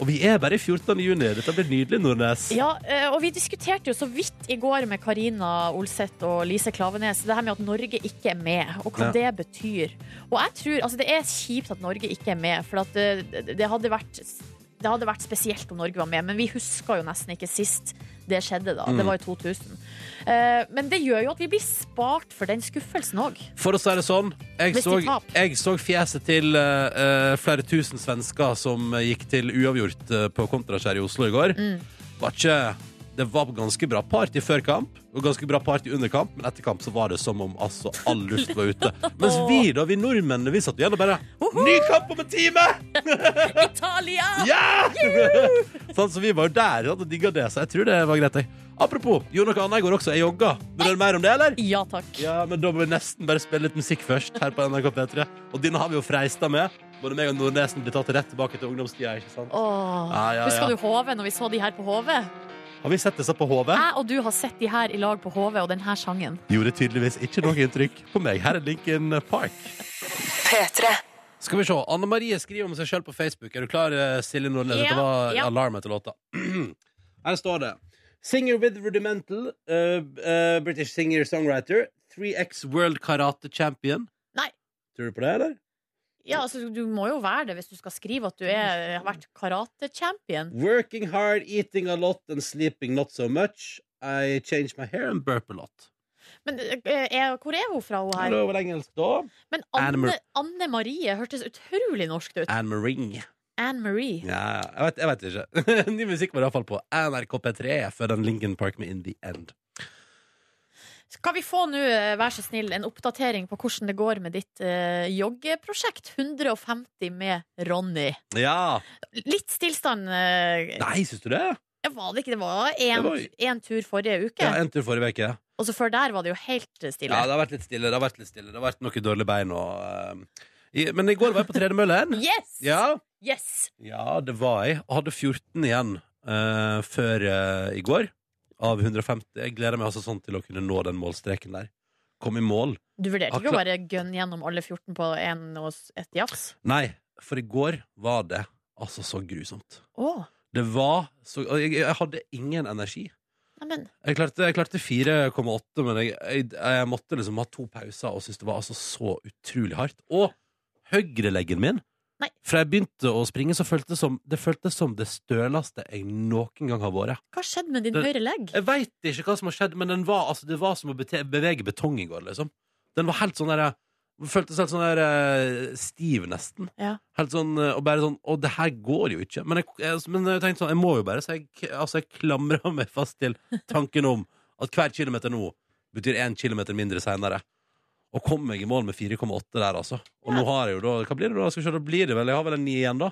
S1: Og vi er bare i 14. juni. Dette blir nydelig, Nordnes.
S2: Ja, eh, og vi diskuterte jo så vidt i går med Karina Olseth og Lise Klavenes det her med at Norge ikke er med, og hva det betyr. Og jeg tror, altså det er kjipt at Norge ikke er med, for at eh, det hadde vært det hadde vært spesielt om Norge var med, men vi husker jo nesten ikke sist det skjedde. da,
S1: Mm.
S2: Det var i 2000. Eh, Men det gjør jo at vi blir spart for den skuffelsen òg.
S1: For å si det sånn, jeg
S2: Hvis de
S1: så,
S2: tap.
S1: jeg så fjeset til eh, eh, flere tusen svensker som gikk til uavgjort eh, på Kontraskjæret i Oslo i går. Var ikke, det var ganske bra party før kamp, og ganske bra party under kamp, men etter kamp så var det som om altså, all luft var ute. Mens vi, da, vi nordmennene, vi satt igjen og bare Ny kamp om en time!
S2: Italia!
S1: Ja! sånn, så vi var jo der sant, og digga det, så jeg tror det var greit. jeg. Apropos, gjorde noe annet i går også. Jeg jogga. Vil dere mer om det, eller?
S2: Ja takk.
S1: Ja, men da må vi nesten bare spille litt musikk først her på NRK P3. Og denne har vi jo freista med. Både meg og Nordnesen blir tatt rett tilbake til ungdomstida, ikke sant?
S2: Åh.
S1: Ja, ja,
S2: Husker
S1: ja.
S2: du HV når vi så de her på HV?
S1: Har vi sett disse på HV?
S2: Jeg og du har sett de her i lag på HV og denne sangen.
S1: Gjorde tydeligvis ikke noe inntrykk på meg. Her er Lincoln Park.
S6: P3.
S1: Skal vi se. Anne Marie skriver om seg sjøl på Facebook. Er du klar, eh, Silje Nordnes?
S2: Ja,
S1: Dette var
S2: ja.
S1: alarm etter låta. Her står det Singer with rudimental, eh, eh, British singer-songwriter, 3X World Karate Champion.
S2: Nei.
S1: Tror du på det, eller?
S2: Ja, altså, du må jo være det hvis du skal skrive at du er, har vært karate-champion.
S1: Working hard, eating a lot and sleeping not so much. I change my hair and burp a lot.
S2: Men eh, er, hvor er hun fra, hun
S1: Er
S2: her?
S1: det vel engelsk, da?
S2: Men
S1: Anne
S2: Anne,
S1: Mar-
S2: Anne Marie hørtes utrolig norsk ut.
S1: Anne Marie.
S2: Anne Marie.
S1: Ja, jeg vet, jeg vet ikke. Ny musikk var det iallfall på NRK P3 før den Lincoln Park med In The End.
S2: Skal vi få nå, eh, vær så snill, en oppdatering på hvordan det går med ditt eh, joggeprosjekt 150 med Ronny?
S1: Ja!
S2: Litt stillstand. eh,
S1: Nei, syns du det?
S2: ja, var det ikke? Det var
S1: Det
S2: én tur forrige uke.
S1: Ja, en tur forrige uke.
S2: Og så før der var det jo helt eh, stille.
S1: Ja, det har vært litt stille. Det har vært litt stille Det har vært noe dårlig bein og eh, i- Men i går var jeg på tredemøllen.
S2: Yes!
S1: Ja.
S2: Yes!
S1: ja, det var jeg. Og hadde 14 igjen eh, før eh, i går. Av 150. Jeg gleder meg altså sånn til å kunne nå den målstreken der. Kom i mål.
S2: Du vurderte ikke
S1: Akkurat-
S2: å bare gønne gjennom alle 14 på en og s- et jafs?
S1: Nei, for i går var det altså så grusomt.
S2: Åh,
S1: Det var så og Jeg, jeg hadde ingen energi.
S2: nei, men
S1: Jeg klarte, jeg klarte 4,8, men jeg, jeg, jeg måtte liksom ha to pauser og syntes det var altså så utrolig hardt. Og høyreleggen min
S2: Nei.
S1: Fra jeg begynte å springe, så føltes det som det, føltes som det støleste jeg noen gang har vært.
S2: hva skjedde med din
S1: Det-
S2: høyre legg?
S1: Jeg veit ikke hva som har skjedd, men den var, altså, det var som å bete- bevege betong i går, liksom. Den var helt sånn derre Føltes helt sånn der eh, stiv, nesten.
S2: Ja.
S1: Helt sånn, eh, og bare sånn Å, det her går jo ikke. Men jeg, jeg, men jeg tenkte sånn, jeg må jo bare, så jeg, altså, jeg klamra meg fast til tanken om at hver kilometer nå betyr én kilometer mindre seinere. Og kom meg i mål med 4,8 der, altså. Og nå har jeg jo da Hva blir det da? Skal vi se, da blir det vel Jeg har vel en 9 igjen, da.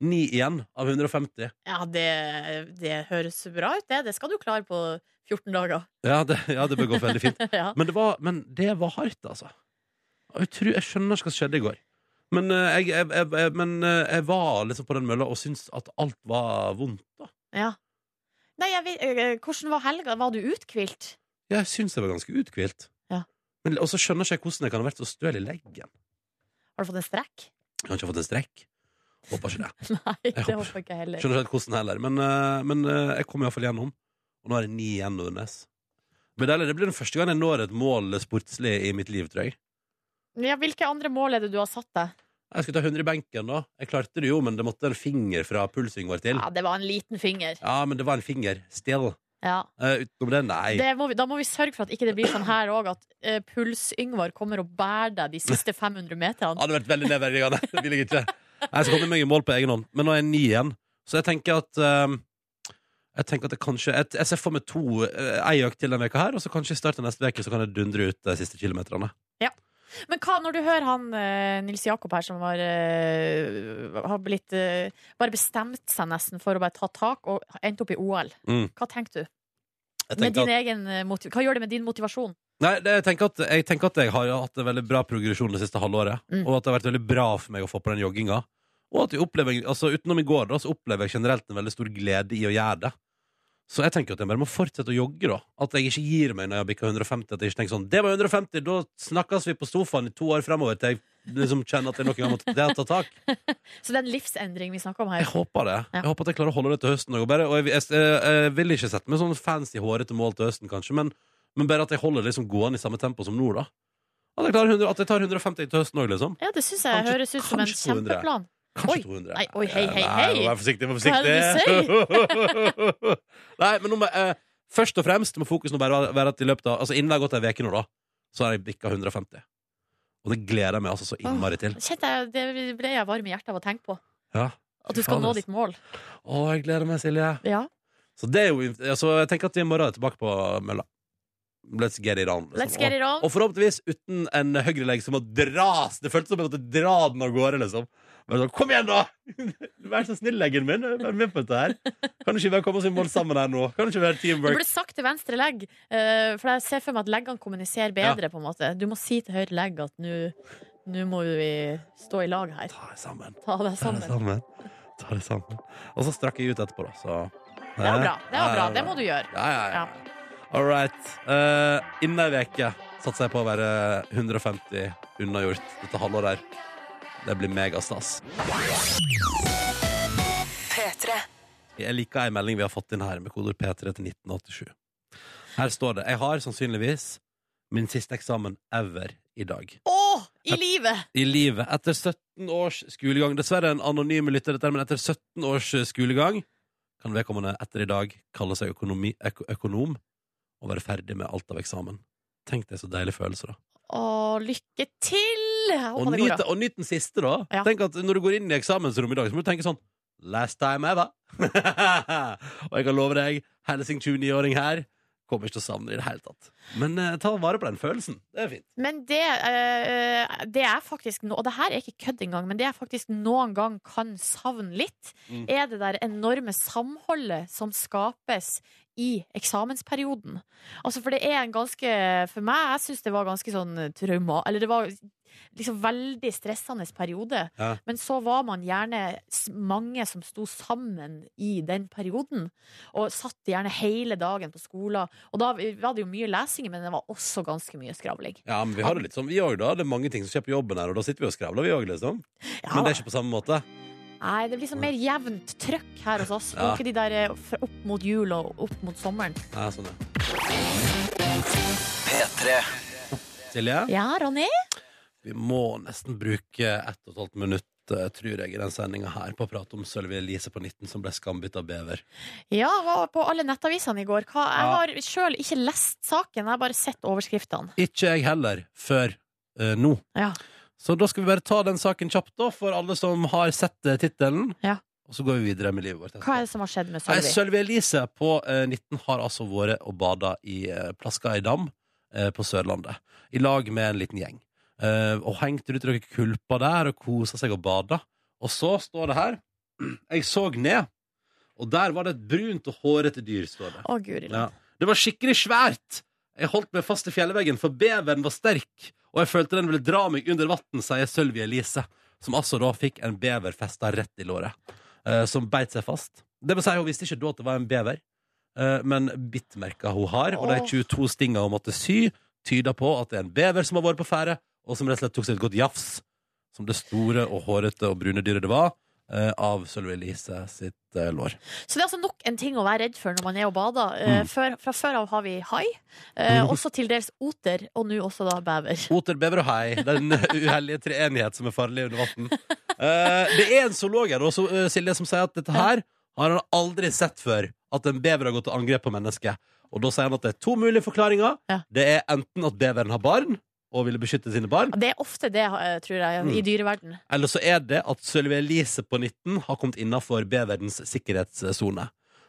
S1: 9 igjen av 150.
S2: Ja, det, det høres bra ut, det. Det skal du klare på 14 dager.
S1: Ja, det, ja, det bør gå veldig fint.
S2: ja.
S1: Men det var, men det var hardt, altså. Jeg, tror, jeg skjønner hva som skjedde i går. Men, eh, jeg, jeg, jeg, jeg, men eh, jeg var liksom på den mølla og syntes at alt var vondt. da
S2: ja. Nei, jeg, vet- eh, hvordan var helga? Var du uthvilt?
S1: Jeg syns jeg var ganske uthvilt.
S2: Ja.
S1: Men- Og så skjønner ikke jeg hvordan jeg kan ha vært så støl i leggen.
S2: Har du fått en strekk?
S1: Jeg har ikke fått en strekk. Håper ikke det.
S2: Nei, det
S1: håper-
S2: håper jeg ikke heller.
S1: Skjønner ikke helt hvordan heller. Men, eh, men eh, jeg kom iallfall gjennom. Og nå er det ni igjen, Nordnes. Men det, er- det blir den første gang jeg når et mål sportslig i mitt liv, tror jeg.
S2: Ja, hvilke andre mål er det du har satt deg?
S1: Jeg skulle ta 100 i benken, da. Jeg klarte det jo, men det måtte en finger fra pulsen vår til.
S2: Ja, det var en liten finger.
S1: Ja, men det var en finger. Still.
S2: Ja.
S1: Eh, utenom det, nei.
S2: Det må vi, da må vi sørge for at ikke det blir sånn her òg, at eh, Puls-Yngvar kommer og bærer deg de siste 500
S1: Det
S2: meterne.
S1: hadde vært veldig nedverdigende. Det vil jeg ikke. Jeg skal komme meg i mål på egen hånd, men nå er jeg ni igjen. Så jeg tenker at eh, Jeg tenker at det kanskje Jeg, jeg ser for meg to uh, ei økt til denne veka her, og så kanskje i starten av neste uke så kan jeg dundre ut de siste kilometerne.
S2: Men hva, når du hører han eh, Nils Jakob her, som har, eh, har blitt eh, Bare bestemt seg nesten for å bare ta tak og endt opp i OL,
S1: Mm.
S2: hva tenker du?
S1: Jeg
S2: Med
S1: tenker
S2: din
S1: at,
S2: egen eh, motiv hva gjør det med din motivasjon?
S1: nei, det, jeg, tenker at, jeg tenker at jeg har hatt en veldig bra progresjon det siste halvåret,
S2: Mm.
S1: og at det har vært veldig bra for meg å få på den jogginga. Og at jeg opplever, altså utenom i går, da, så opplever jeg generelt en veldig stor glede i å gjøre det. Så jeg tenker at jeg bare må fortsette å jogge, da. At jeg ikke gir meg når jeg bikker 150. At jeg ikke tenker sånn Det var 150, da snakkes vi på sofaen i to år fremover til jeg liksom kjenner at jeg noen gang må ta- det har tatt tak.
S2: Så det er en livsendring vi snakker om her.
S1: Jeg håper det.
S2: Ja.
S1: Jeg håper at jeg klarer å holde det til høsten. Og, bare, og jeg, jeg, jeg, jeg vil ikke sette meg sånn fancy hårete mål til høsten, kanskje, men, men bare at jeg holder liksom gående i samme tempo som nå, da. At jeg, klarer 100, at jeg tar 150 til høsten òg, liksom.
S2: Ja, det syns jeg
S1: Kanskje-
S2: høres ut som en
S1: kanskje 200.
S2: kjempeplan.
S1: Kanskje
S2: Oi.
S1: 200.
S2: Nei, oi, hei, hei,
S1: Nei,
S2: hei.
S1: vær forsiktig, vær
S2: Hva er
S1: forsiktig. Nei, men nå må jeg eh, Først og fremst må fokus nå bare være at i løpet av Altså innen det har gått ei uke nå, da, så har jeg bikka 150. Og det gleder jeg meg altså så innmari til.
S2: Kjente jeg, det ble jeg varm i hjertet av å tenke på.
S1: Ja.
S2: At du skal
S1: Faen,
S2: nå
S1: ass.
S2: ditt mål.
S1: Å, jeg gleder meg, Silje.
S2: Ja.
S1: Så det er jo altså, Jeg tenker at i morgen er jeg tilbake på mølla. Let's get it on. liksom.
S2: Let's get it on.
S1: Og, og forhåpentligvis uten en høyrelegg som må dras. Det føltes som jeg måtte dra den av gårde, liksom. Men sånn, Kom igjen, da! Vær så snill, leggen min. Vær med på dette her. Kan du ikke bare komme oss i mål sammen her nå? Kan du ikke være
S2: Du
S1: teamwork?
S2: burde sagt til venstre legg, eh, for jeg ser for meg at leggene kommuniserer bedre. på en måte Du må si til høyre legg at nå nå må vi stå i lag her.
S1: Ta det sammen.
S2: Ta deg
S1: Ta
S2: sammen.
S1: det sammen. Ta det sammen. Og så strakk jeg ut etterpå, da. Så
S2: Det var bra. Det, var bra. det må du gjøre.
S1: Ja, ja, ja. All right. Uh, Innen ei uke satser jeg på å være 150 unnagjort dette halvåret her. Det blir megastas.
S6: P3.
S1: Jeg liker ei melding vi har fått inn her med koder P3 til 1987. Her står det Jeg har sannsynligvis min siste eksamen ever i dag.
S2: Å! I livet!
S1: I livet. Etter 17 års skolegang. Dessverre en anonym lytter, dette, men etter 17 års skolegang kan vedkommende etter i dag kalle seg økonomi, øko, økonom og være ferdig med alt av eksamen. Tenk deg så deilig følelse, da.
S2: Å, lykke til! Jeg
S1: Og
S2: håper det går
S1: nyt,
S2: bra.
S1: og nyt den siste, da.
S2: Ja.
S1: Tenk at Når du går inn i eksamensrommet i dag, så må du tenke sånn Last time ever. og jeg kan love deg, Helsing 29-åring her kommer ikke til å savne det i det hele tatt. Men eh, ta vare på den følelsen. Det er fint.
S2: Men det, eh, det er faktisk no- Og det her er ikke kødd engang, men det jeg faktisk noen gang kan savne litt,
S1: Mm.
S2: er det der enorme samholdet som skapes i eksamensperioden. Altså, for det er en ganske For meg, jeg syns det var ganske sånn trauma Eller det var liksom veldig stressende periode.
S1: Ja.
S2: Men så var man gjerne s- mange som sto sammen i den perioden. Og satt gjerne hele dagen på skolen. Og da var det jo mye lesing, men det var også ganske mye skravling.
S1: Ja, men Vi har det litt sånn, vi òg, da. Det er mange ting som skjer på jobben her, og da sitter vi og skravler, vi òg, liksom.
S2: Ja.
S1: Men det er ikke på samme måte.
S2: Nei, det blir sånn mer jevnt trøkk her hos oss.
S1: Ja.
S2: Og Ikke de der eh, fra- opp mot jul og opp mot sommeren.
S1: Nei, sånn er. Silje,
S2: Ja, Ronny?
S1: vi må nesten bruke ett og et halvt minutt, eh, tror jeg, i den sendinga her på å prate om Sølvi Elise på 19 som ble skambitt av bever.
S2: Ja, var på alle nettavisene i går. Hva, jeg har sjøl ikke lest saken, jeg har bare sett overskriftene.
S1: Ikke jeg heller, før eh, nå.
S2: Ja.
S1: Så da skal vi bare ta den saken kjapt, da, for alle som har sett eh, tittelen.
S2: Ja.
S1: Og så går vi videre med livet vårt.
S2: Hva er det som har skjedd med
S1: Nei,
S2: Sølvi?
S1: Sølvi Elise på eh, 19 har altså vært og bada i eh, Plaska i dam eh, på Sørlandet. I lag med en liten gjeng. Eh, og hengte ut noen kulper der og kosa seg og bada. Og så står det her Jeg så ned, og der var det et brunt og hårete dyr, står det.
S2: Å, guri land.
S1: Ja. Det var skikkelig svært. Jeg holdt meg fast i fjellveggen, for beveren var sterk, og jeg følte den ville dra meg under vann, sier Sølvi Elise, som altså da fikk en bever festa rett i låret, eh, som beit seg fast. Det vil si, hun visste ikke da at det var en bever, eh, men bittmerka hun har, og de
S2: Åh.
S1: 22 stinga hun måtte sy, tyder på at det er en bever som har vært på ferde, og som rett og slett tok seg et godt jafs, som det store og hårete og brune dyret det var, eh, av Sølvi Elise sitt eh, lår.
S2: Så det er altså nok en ting å være redd for når man er og bader.
S1: Mm.
S2: Eh, før, fra før av har vi hai, eh, også til dels oter, og nå også da bever.
S1: Oter, bever og hei. Den uheldige treenighet som er farlig under vann. Eh, det er en zoolog her, også, eh, Silje, som sier at dette her har han aldri sett før. At en bever har gått til angrep på mennesket. Og da sier han at det er to mulige forklaringer.
S2: Ja.
S1: Det er enten at beveren har barn og ville beskytte sine barn.
S2: Det er ofte det, eh, tror jeg,
S1: Mm.
S2: i dyreverden.
S1: Eller så er det at Sølvi Elise på 19 har kommet innafor beverens sikkerhetssone.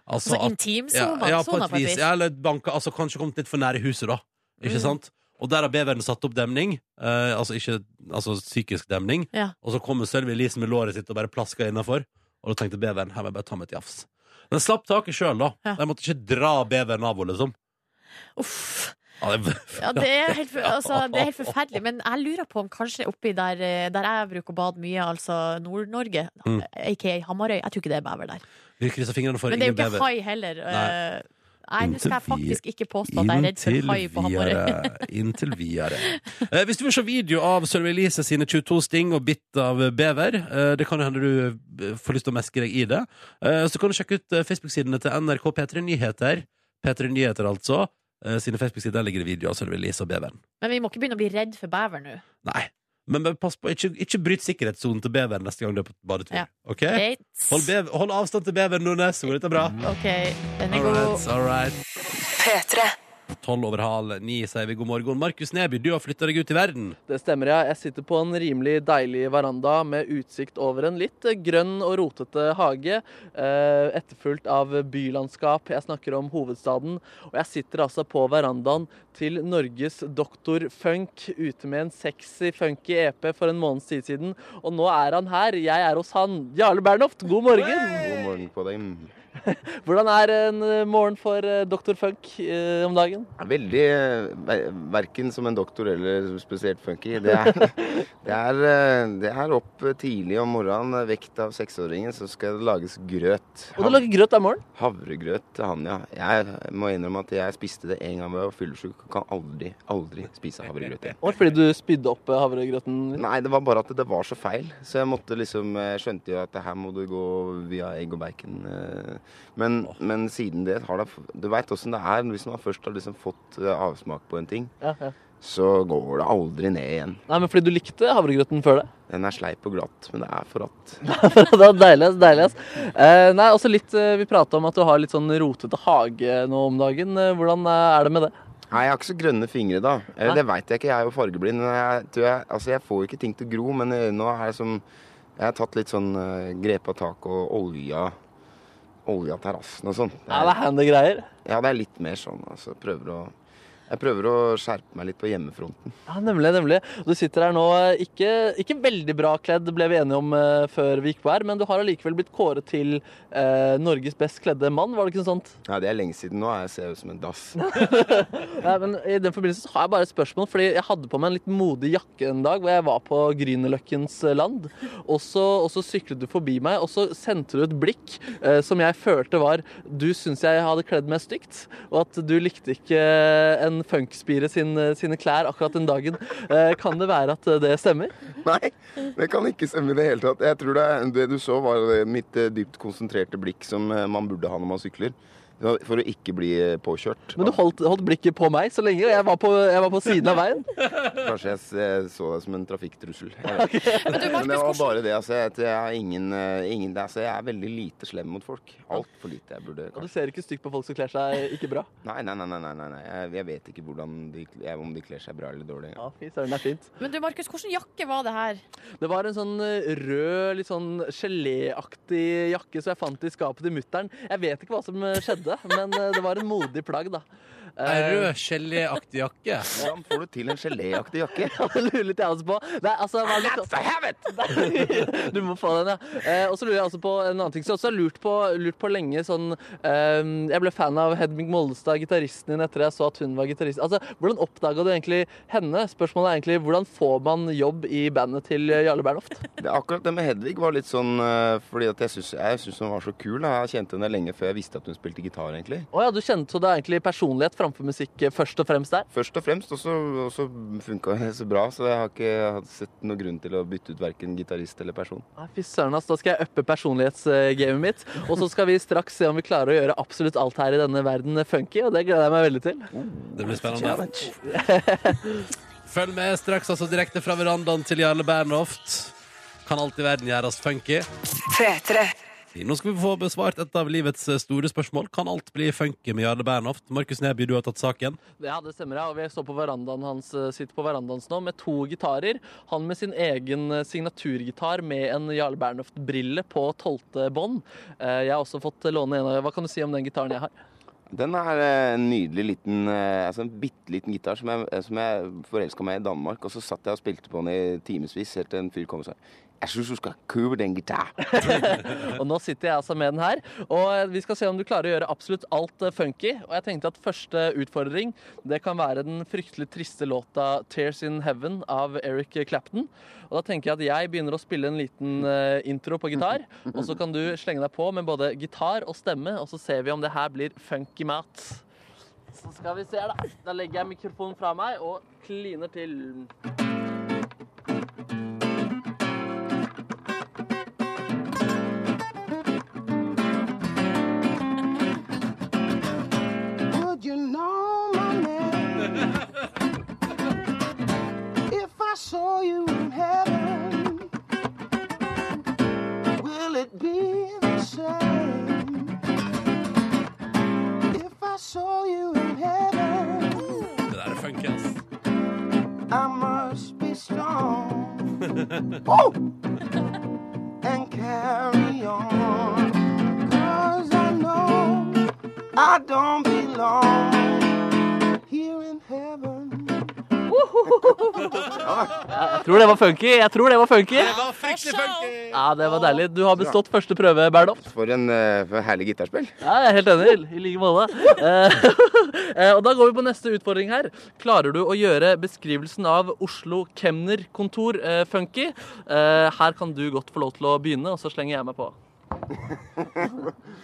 S2: Altså
S1: at-
S2: intimsona,
S1: ja, ja, på
S2: sona
S1: et vis. Ja, eller banka, altså kanskje kommet litt for nære huset, da. Ikke
S2: Mm.
S1: sant? Og der har beveren satt opp demning, eh, altså ikke altså psykisk demning.
S2: Ja.
S1: Og så kommer Sølvi Elisen med låret sitt og bare plasker innafor. Og da tenkte beveren her må jeg bare ta meg et jafs. Den slapp taket sjøl, da.
S2: Ja.
S1: Jeg måtte ikke dra beveren av henne, liksom.
S2: Uff.
S1: Ja, det,
S2: Ja, det er, helt, for- altså, det er helt forferdelig, men jeg lurer på om kanskje oppi der, eh, der jeg bruker å bade mye, altså Nord-Norge,
S1: Mm.
S2: aka Hamarøy, jeg tror ikke det er bever der.
S1: vi krysser fingrene for
S2: Men det er
S1: ingen
S2: jo ikke
S1: bever.
S2: hai heller.
S1: Nei.
S2: eh, Nei, nå skal jeg
S1: Inntil vi-
S2: faktisk ikke påstå at jeg er redd for hai på Hamarøy.
S1: Inntil videre. Eh, hvis du vil se video av Sølvi Elise sine 22 sting og bitt av bever, eh, det kan jo hende du eh, får lyst til å meske deg i det, eh, så kan du sjekke ut eh, Facebook-sidene til NRK P3 Nyheter. P3 Nyheter, altså. Eh, sine Facebook-sider der ligger det video av Sølvi Elise og beveren.
S2: Men vi må ikke begynne å bli redd for bever nå.
S1: Nei. Men bare pass på, ikke, ikke bryt sikkerhetssonen til beveren neste gang du er på badetur.
S2: Ja.
S1: Ok?
S2: Greit.
S1: Eh, Hold, bev- hold avstand til beveren, Nordnes, så går dette bra.
S2: OK, den er
S1: All
S2: god.
S1: right, all right.
S6: P3.
S1: Tolv over halv ni sier vi god morgen. Markus Neby, du har flytta deg ut i verden.
S3: Det stemmer, ja. Jeg sitter på en rimelig deilig veranda med utsikt over en litt grønn og rotete hage, eh, etterfulgt av bylandskap. Jeg snakker om hovedstaden. Og jeg sitter altså på verandaen til Norges Doktor Funk, ute med en sexy, funky EP for en måneds tid siden. Og nå er han her. Jeg er hos han. Jarle Bernhoft, god morgen!
S9: God morgen på deg. Mm.
S3: Hvordan er en eh, morgen for eh, Doktor Funk eh, om dagen?
S9: Veldig eh, ver- Verken som en doktor eller spesielt funky. Det er, det er, eh, det er opp tidlig om morgenen, eh, vekt av seksåringen, så skal det lages grøt.
S3: Og du lager grøt hver morgen?
S9: Havregrøt til han, ja. Jeg må innrømme at jeg spiste det en gang da jeg var fyllesyk. og Kan aldri, aldri spise havregrøt igjen.
S3: Var det fordi du spydde opp eh, havregrøten? din?
S9: Nei, det var bare at det var så feil. Så jeg måtte liksom Jeg skjønte jo at det her må du gå via egg og bacon. eh. Men, men siden det har det Du veit åssen det er hvis man først har liksom fått eh, avsmak på en ting.
S3: Ja, ja.
S9: Så går det aldri ned igjen.
S3: Nei, men fordi du likte havregrøten før det?
S9: Den er sleip og glatt, men det er forratt.
S3: det var deilig, ass, deilig. ass. Eh, nei, også litt, eh, Vi prata om at du har litt sånn rotete hage nå om dagen. Eh, Hvordan eh, er det med det?
S9: Nei, jeg har ikke så grønne fingre, da. Eller, det veit jeg ikke, jeg er jo fargeblind. Men jeg, tror jeg, altså, jeg får jo ikke ting til å gro, men eh, nå er det som Jeg har tatt litt sånn eh, grepa tak og olja Olja terrassen og sånn. Det
S3: Ja,
S9: er-
S3: det er handy greier.
S9: Ja, det er litt mer sånn, altså. Prøver å, jeg prøver å skjerpe meg litt på hjemmefronten.
S3: Ja, Nemlig. nemlig. Du sitter her nå eh, ikke, ikke veldig bra kledd, ble vi enige om eh, før vi gikk på her, men du har allikevel blitt kåret til eh, Norges best kledde mann, var det ikke noe sånt?
S9: Nei, det er lenge siden nå. Jeg ser ut som en dass.
S3: Ja, men I den forbindelse så har jeg bare et spørsmål. fordi Jeg hadde på meg en litt modig jakke en dag hvor jeg var på Grünerløkkens eh, land. Og så, og så syklet du forbi meg, og så sendte du et blikk eh, som jeg følte var Du syns jeg hadde kledd meg stygt, og at du likte ikke eh, en funkspire sin, eh, sine klær akkurat den dagen. Eh, kan det være at det stemmer?
S9: Nei, det kan ikke stemme i det hele tatt. Jeg tror det, det du så, var mitt eh, dypt konsentrerte blikk som eh, man burde ha når man sykler. For å ikke bli eh, påkjørt.
S3: Men du holdt, holdt blikket på meg så lenge, og jeg var på, jeg var på siden av veien.
S9: Kanskje jeg s- eh, så det som en trafikktrussel. Jeg vet ikke.
S2: Men du,
S9: Men det
S2: Markus,
S9: var
S2: hvordan,
S9: bare det. Altså, at jeg, er ingen, eh, ingen, altså, jeg er veldig lite slem mot folk. Altfor lite. Jeg burde
S3: Og du
S9: kanskje
S3: ser ikke stygt på folk som kler seg ikke bra.
S9: Nei, nei, nei. nei, nei, nei, nei. Jeg, jeg vet ikke hvordan de, jeg, om de kler seg bra eller dårlig.
S3: Ja, fy søren, det er fint.
S2: men du, Markus, hvordan jakke var det her?
S3: Det var en sånn eh, rød, litt sånn geléaktig jakke som jeg fant i skapet til mutter'n. Jeg vet ikke hva som eh, skjedde, men eh, det var en modig plagg, da.
S1: Ei
S3: Eh,
S1: rød geléaktig jakke.
S9: Hvordan får du til en geléaktig jakke?
S3: Ja, det lurer litt jeg også på. Nei, altså, hva er det-
S9: That's a habit!
S3: du må få den, ja. Eh, og så lurer jeg også på en annen ting som jeg også har lurt på, lurt på lenge. Sånn, ehm, jeg ble fan av Hedvig Mollestad, gitaristen din, etter jeg så at hun var gitarist. Altså, hvordan oppdaga du egentlig henne? Spørsmålet er egentlig hvordan får man jobb i bandet til Jarle Bernhoft?
S9: Det, akkurat det med Hedvig var litt sånn eh, fordi at jeg syns jeg synes hun var så kul. Da. Jeg kjente henne lenge før jeg visste at hun spilte gitar, egentlig.
S3: Å ja, du kjente så det er egentlig personlighet framfor musikk eh, først og fremst der?
S9: Først og fremst, og så- og så funka det så bra, så jeg har ikke hatt sett noen grunn til å bytte ut verken gitarist eller person.
S3: Nei, Fy søren, ass. Da skal jeg uppe personlighetsgamet mitt. Og så skal vi straks se om vi klarer å gjøre absolutt alt her i denne verden eh, funky, og det gleder jeg meg veldig til.
S1: Det blir spennende. Følg med straks, altså direkte fra verandaen til Jarle Bernhoft. Kan alt i verden gjøres funky?
S6: P3.
S1: Nå skal vi få besvart et av livets eh, store spørsmål. Kan alt bli funky med Jarle Bernhoft? Markus Neby, du har tatt saken.
S3: Ja, det stemmer. ja, og Vi står på verandaen hans, eh, sitter på verandaen hans nå med to gitarer. Han med sin egen eh, signaturgitar med en Jarle Bernhoft-brille på tolvte bånd. Eh, Jeg har også fått låne en av Hva kan du si om den gitaren jeg har?
S9: Den er eh, en nydelig liten eh, altså En bitte liten gitar som jeg, eh, som jeg forelska meg i Danmark. Og så satt jeg og spilte på den i timevis helt til en fyr kom og sa Jeg syns du skal kjøpe den gitaren.
S3: Og nå sitter jeg altså med den her. Og eh, vi skal se om du klarer å gjøre absolutt alt eh, funky. Og jeg tenkte at første utfordring, det kan være den fryktelig triste låta 'Tears In Heaven' av Eric Clapton. Og da tenker jeg at jeg begynner å spille en liten eh, intro på gitar. Og så kan du slenge deg på med både gitar og stemme, og så ser vi om det her blir funky mat. Så skal vi se her, da. Da legger jeg mikrofonen fra meg og kliner til.
S10: Would you know my name? if I saw you in heaven, will it be the same? If I saw you in heaven,
S1: Det der er funky, ass.
S10: I must be strong. Woo! and carry on. Cause I know I don't belong here in heaven.
S3: Jeg tror det var funky. Jeg tror det var funky.
S1: Fryktelig funky!
S3: Ja, det var deilig. Du har bestått første prøve, Bernhoft.
S9: For en eh, for en herlig gitarspill.
S3: Ja, jeg er helt enig. I like måte. Eh, eh, og da går vi på neste utfordring her. Klarer du å gjøre beskrivelsen av Oslo kemnerkontor eh, funky? Eh, her kan du godt få lov til å begynne, og så slenger jeg meg på.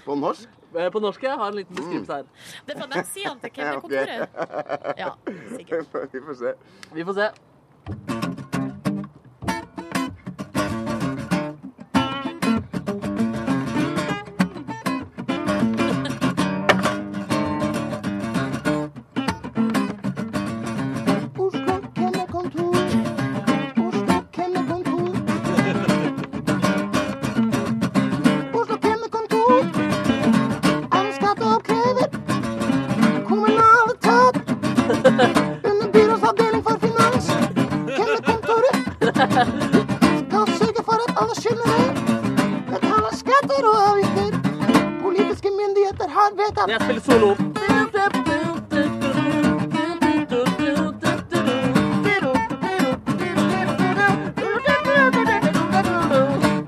S9: På norsk.
S3: Eh, på norsk jeg har en liten beskrivelse her.
S2: Det er fra den sida til kemnerkontoret. Ja, sikkert.
S9: Vi får se.
S3: Vi får se.
S10: Oslo kemnerkontor. Oslo kemnerkontor. Oslo kemnerkontor. Anskaffet og oppkrevet. Kommunale tap. Under byrådsavdeling for finans. Kemnerkontoret skal sørge for at alle skyldnere betaler skatter og avgifter. Politiske myndigheter har vedtatt
S3: Jeg spiller solo.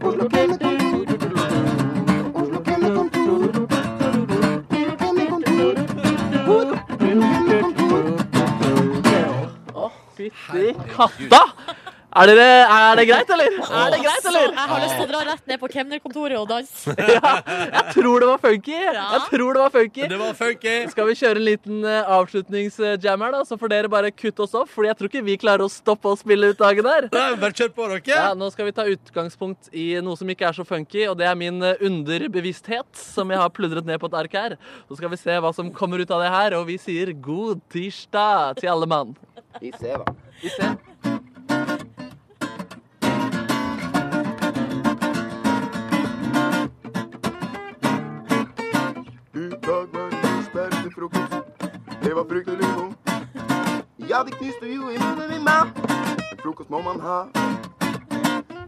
S10: Oslo kemnerkontor. Oslo kemnerkontor. Kemnerkontor. Kemnerkontor.
S3: Å, fytti katta! Er, dere, er det greit, eller? Er det greit,
S2: Så
S3: eller?
S2: Altså, jeg har lyst til å
S1: Ah.
S2: dra rett ned på kemnerkontoret og danse.
S3: Ja, jeg tror det var funky. Jeg tror det var funky.
S1: Det var funky!
S3: Skal vi kjøre en liten eh, avslutningsjam her, da? Så får dere bare kutte oss opp, Fordi jeg tror ikke vi klarer å stoppe å spille ut dagen her.
S1: Nei, bare kjør på, dere!
S3: Ja, nå skal vi ta utgangspunkt i noe som ikke er så funky, og det er min eh, underbevissthet, som jeg har pludret ned på et ark her. Så skal vi se hva som kommer ut av det her, og vi sier god tirsdag til alle mann.
S9: Vi ser, da.
S3: Vi ses.
S5: I dag var det knusbær til frokost. Det var fryktelig godt. Ja, det knuste jo i munnen min, mann. Men frokost må man ha.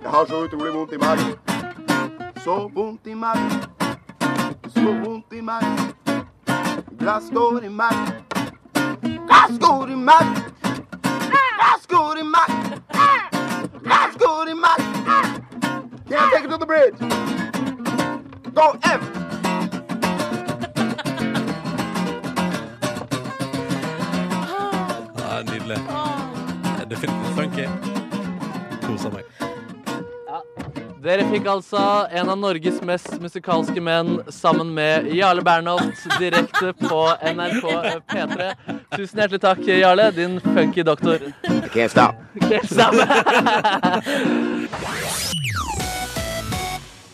S5: Jeg har så utrolig vondt i magen. Så vondt i magen. Så vondt i magen. Glass går i magen. Glass går i magen. Glass går i magen. Glass går i magen. Can't take it to the bridge. Don't ever.
S1: Ja, nydelig. Det er Definitivt funky. Kosa meg.
S3: Dere fikk altså en av Norges mest musikalske menn sammen med Jarle Bernhoft direkte på NRK P3. Tusen hjertelig takk, Jarle, din funky doktor.
S9: I can't stop.
S3: Helt sammen.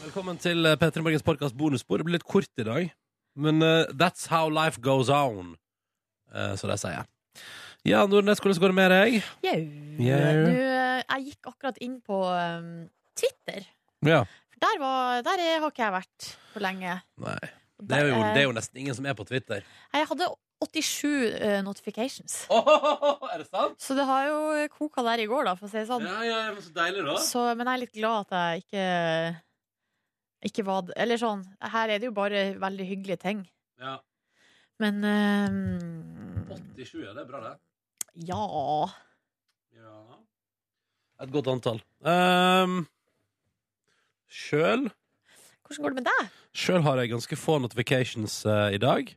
S1: Velkommen til eh, P3 Morgens podkast bonusspor. Det blir litt kort i dag, men eh, that's how life goes on, Eh, så det sier jeg. Ja, Nordnes, hvordan går det med deg?
S2: Jau.
S1: Jau.
S2: Nå, eh, Jeg gikk akkurat inn på um, Twitter.
S1: Ja.
S2: For Der, var, der er- har ikke jeg vært for lenge.
S1: Nei.
S2: Og
S1: Det er, jo,
S2: der- eh,
S1: det er jo nesten ingen som er på Twitter.
S2: Jeg hadde 87 eh, notifications.
S1: er det sant?
S2: Så det har jo koka der i går, da, for å si det sånn.
S1: Ja, ja, men så deilig, da.
S2: Så, men jeg er litt glad at jeg ikke Ikke var det. Eller sånn, her er det jo bare veldig hyggelige ting.
S1: Ja.
S2: Men eh,
S1: 87, ja. Det er bra, det.
S2: ja
S1: Ja. Et godt antall. Um, Sjøl
S2: Hvordan går det med deg
S1: Sjøl har jeg ganske få notifications eh, i dag.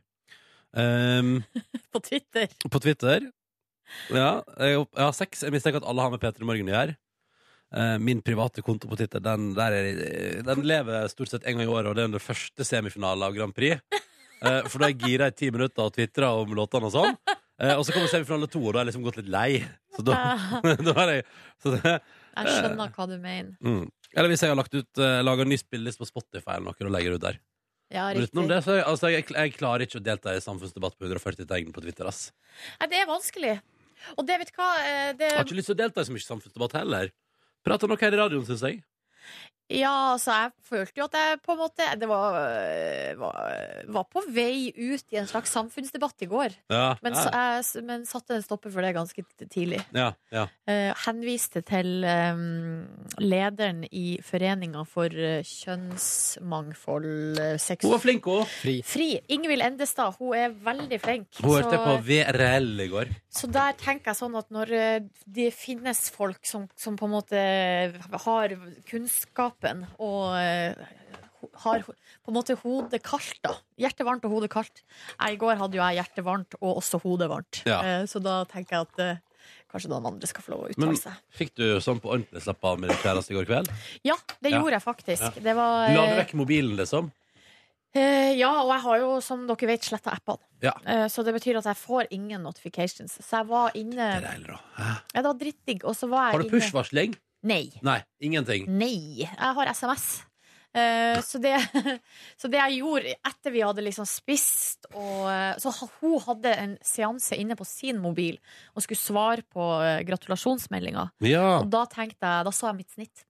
S1: Um,
S2: på Twitter?
S1: på Twitter. Ja, jeg, jeg har seks. Jeg mistenker at alle har med Peter i morgen å gjøre. Eh, min private konto på Twitter den, der er, eh, den lever stort sett en gang i året, og det er under første semifinale av Grand Prix. Eh, for da er jeg gira i ti minutter og tvitrer om låtene og sånn. Eh, og så kommer semifinale to, og da er jeg liksom gått litt lei. Så da,
S2: Jeg
S1: da er jeg så det,
S2: skjønner hva du mener.
S1: mm. Eller hvis jeg har lagt ut eh, laga ny spilleliste på Spotify eller noe og legger det ut der.
S2: Ja,
S1: Men
S2: riktig.
S1: utenom det, så er jeg, altså, jeg, jeg klarer ikke å delta i samfunnsdebatt på 140 tegn på Twitter. ass
S2: Nei, det er vanskelig. Og det, vet du hva eh, det,
S1: Jeg har ikke lyst til å delta i så mye samfunnsdebatt heller. Prata nok her i radioen, syns jeg.
S2: Ja, altså, jeg følte jo at jeg på en måte Det var, eh, var, var på vei ut i en slags samfunnsdebatt i går.
S1: Ja,
S2: Men,
S1: ja,
S2: så, jeg, men satte en stopper for det ganske t- tidlig.
S1: ja, ja.
S2: Eh, henviste til eh, lederen i Foreninga for eh, kjønnsmangfold eh, seks...
S1: Hun var flink, hun.
S2: Fri. Ingvild Endestad. Hun er veldig flink.
S1: Hun hørte på
S2: så,
S1: VRL i går.
S2: så der tenker jeg sånn at når eh, det finnes folk som, som på en måte har kunnskapen og eh, ho- har ho- på en måte hodet kaldt, da. Hjertet varmt og hodet kaldt. Jeg- I går hadde jo jeg hjertet varmt og også hodet varmt.
S1: Ja.
S2: Eh, Så da tenker jeg at eh, kanskje noen andre skal få lov å
S1: Men-
S2: uttale seg.
S1: Fikk du sånn på ordentlig slappe av med din kjæreste i går kveld?
S2: Ja, det
S1: Ja.
S2: gjorde jeg faktisk. Det var,
S1: La du vekk mobilen, liksom?
S2: eh, ja, og jeg har jo, som dere vet, sletta appene.
S1: Ja.
S2: Eh, så det betyr at jeg får ingen notifications. Så jeg var inne
S1: Det er deilig, da. Hæ?
S2: Ja, det var drittdigg, og så var jeg
S1: Har du push-varsling?
S2: inne Nei.
S1: Nei, ingenting.
S2: Nei. Jeg har SMS. Eh, så, det, så det jeg gjorde etter vi hadde liksom spist og eh, Så ha- hun hadde en seanse inne på sin mobil og skulle svare på eh, gratulasjonsmeldinga.
S1: Ja.
S2: Og da tenkte jeg, da så jeg mitt snitt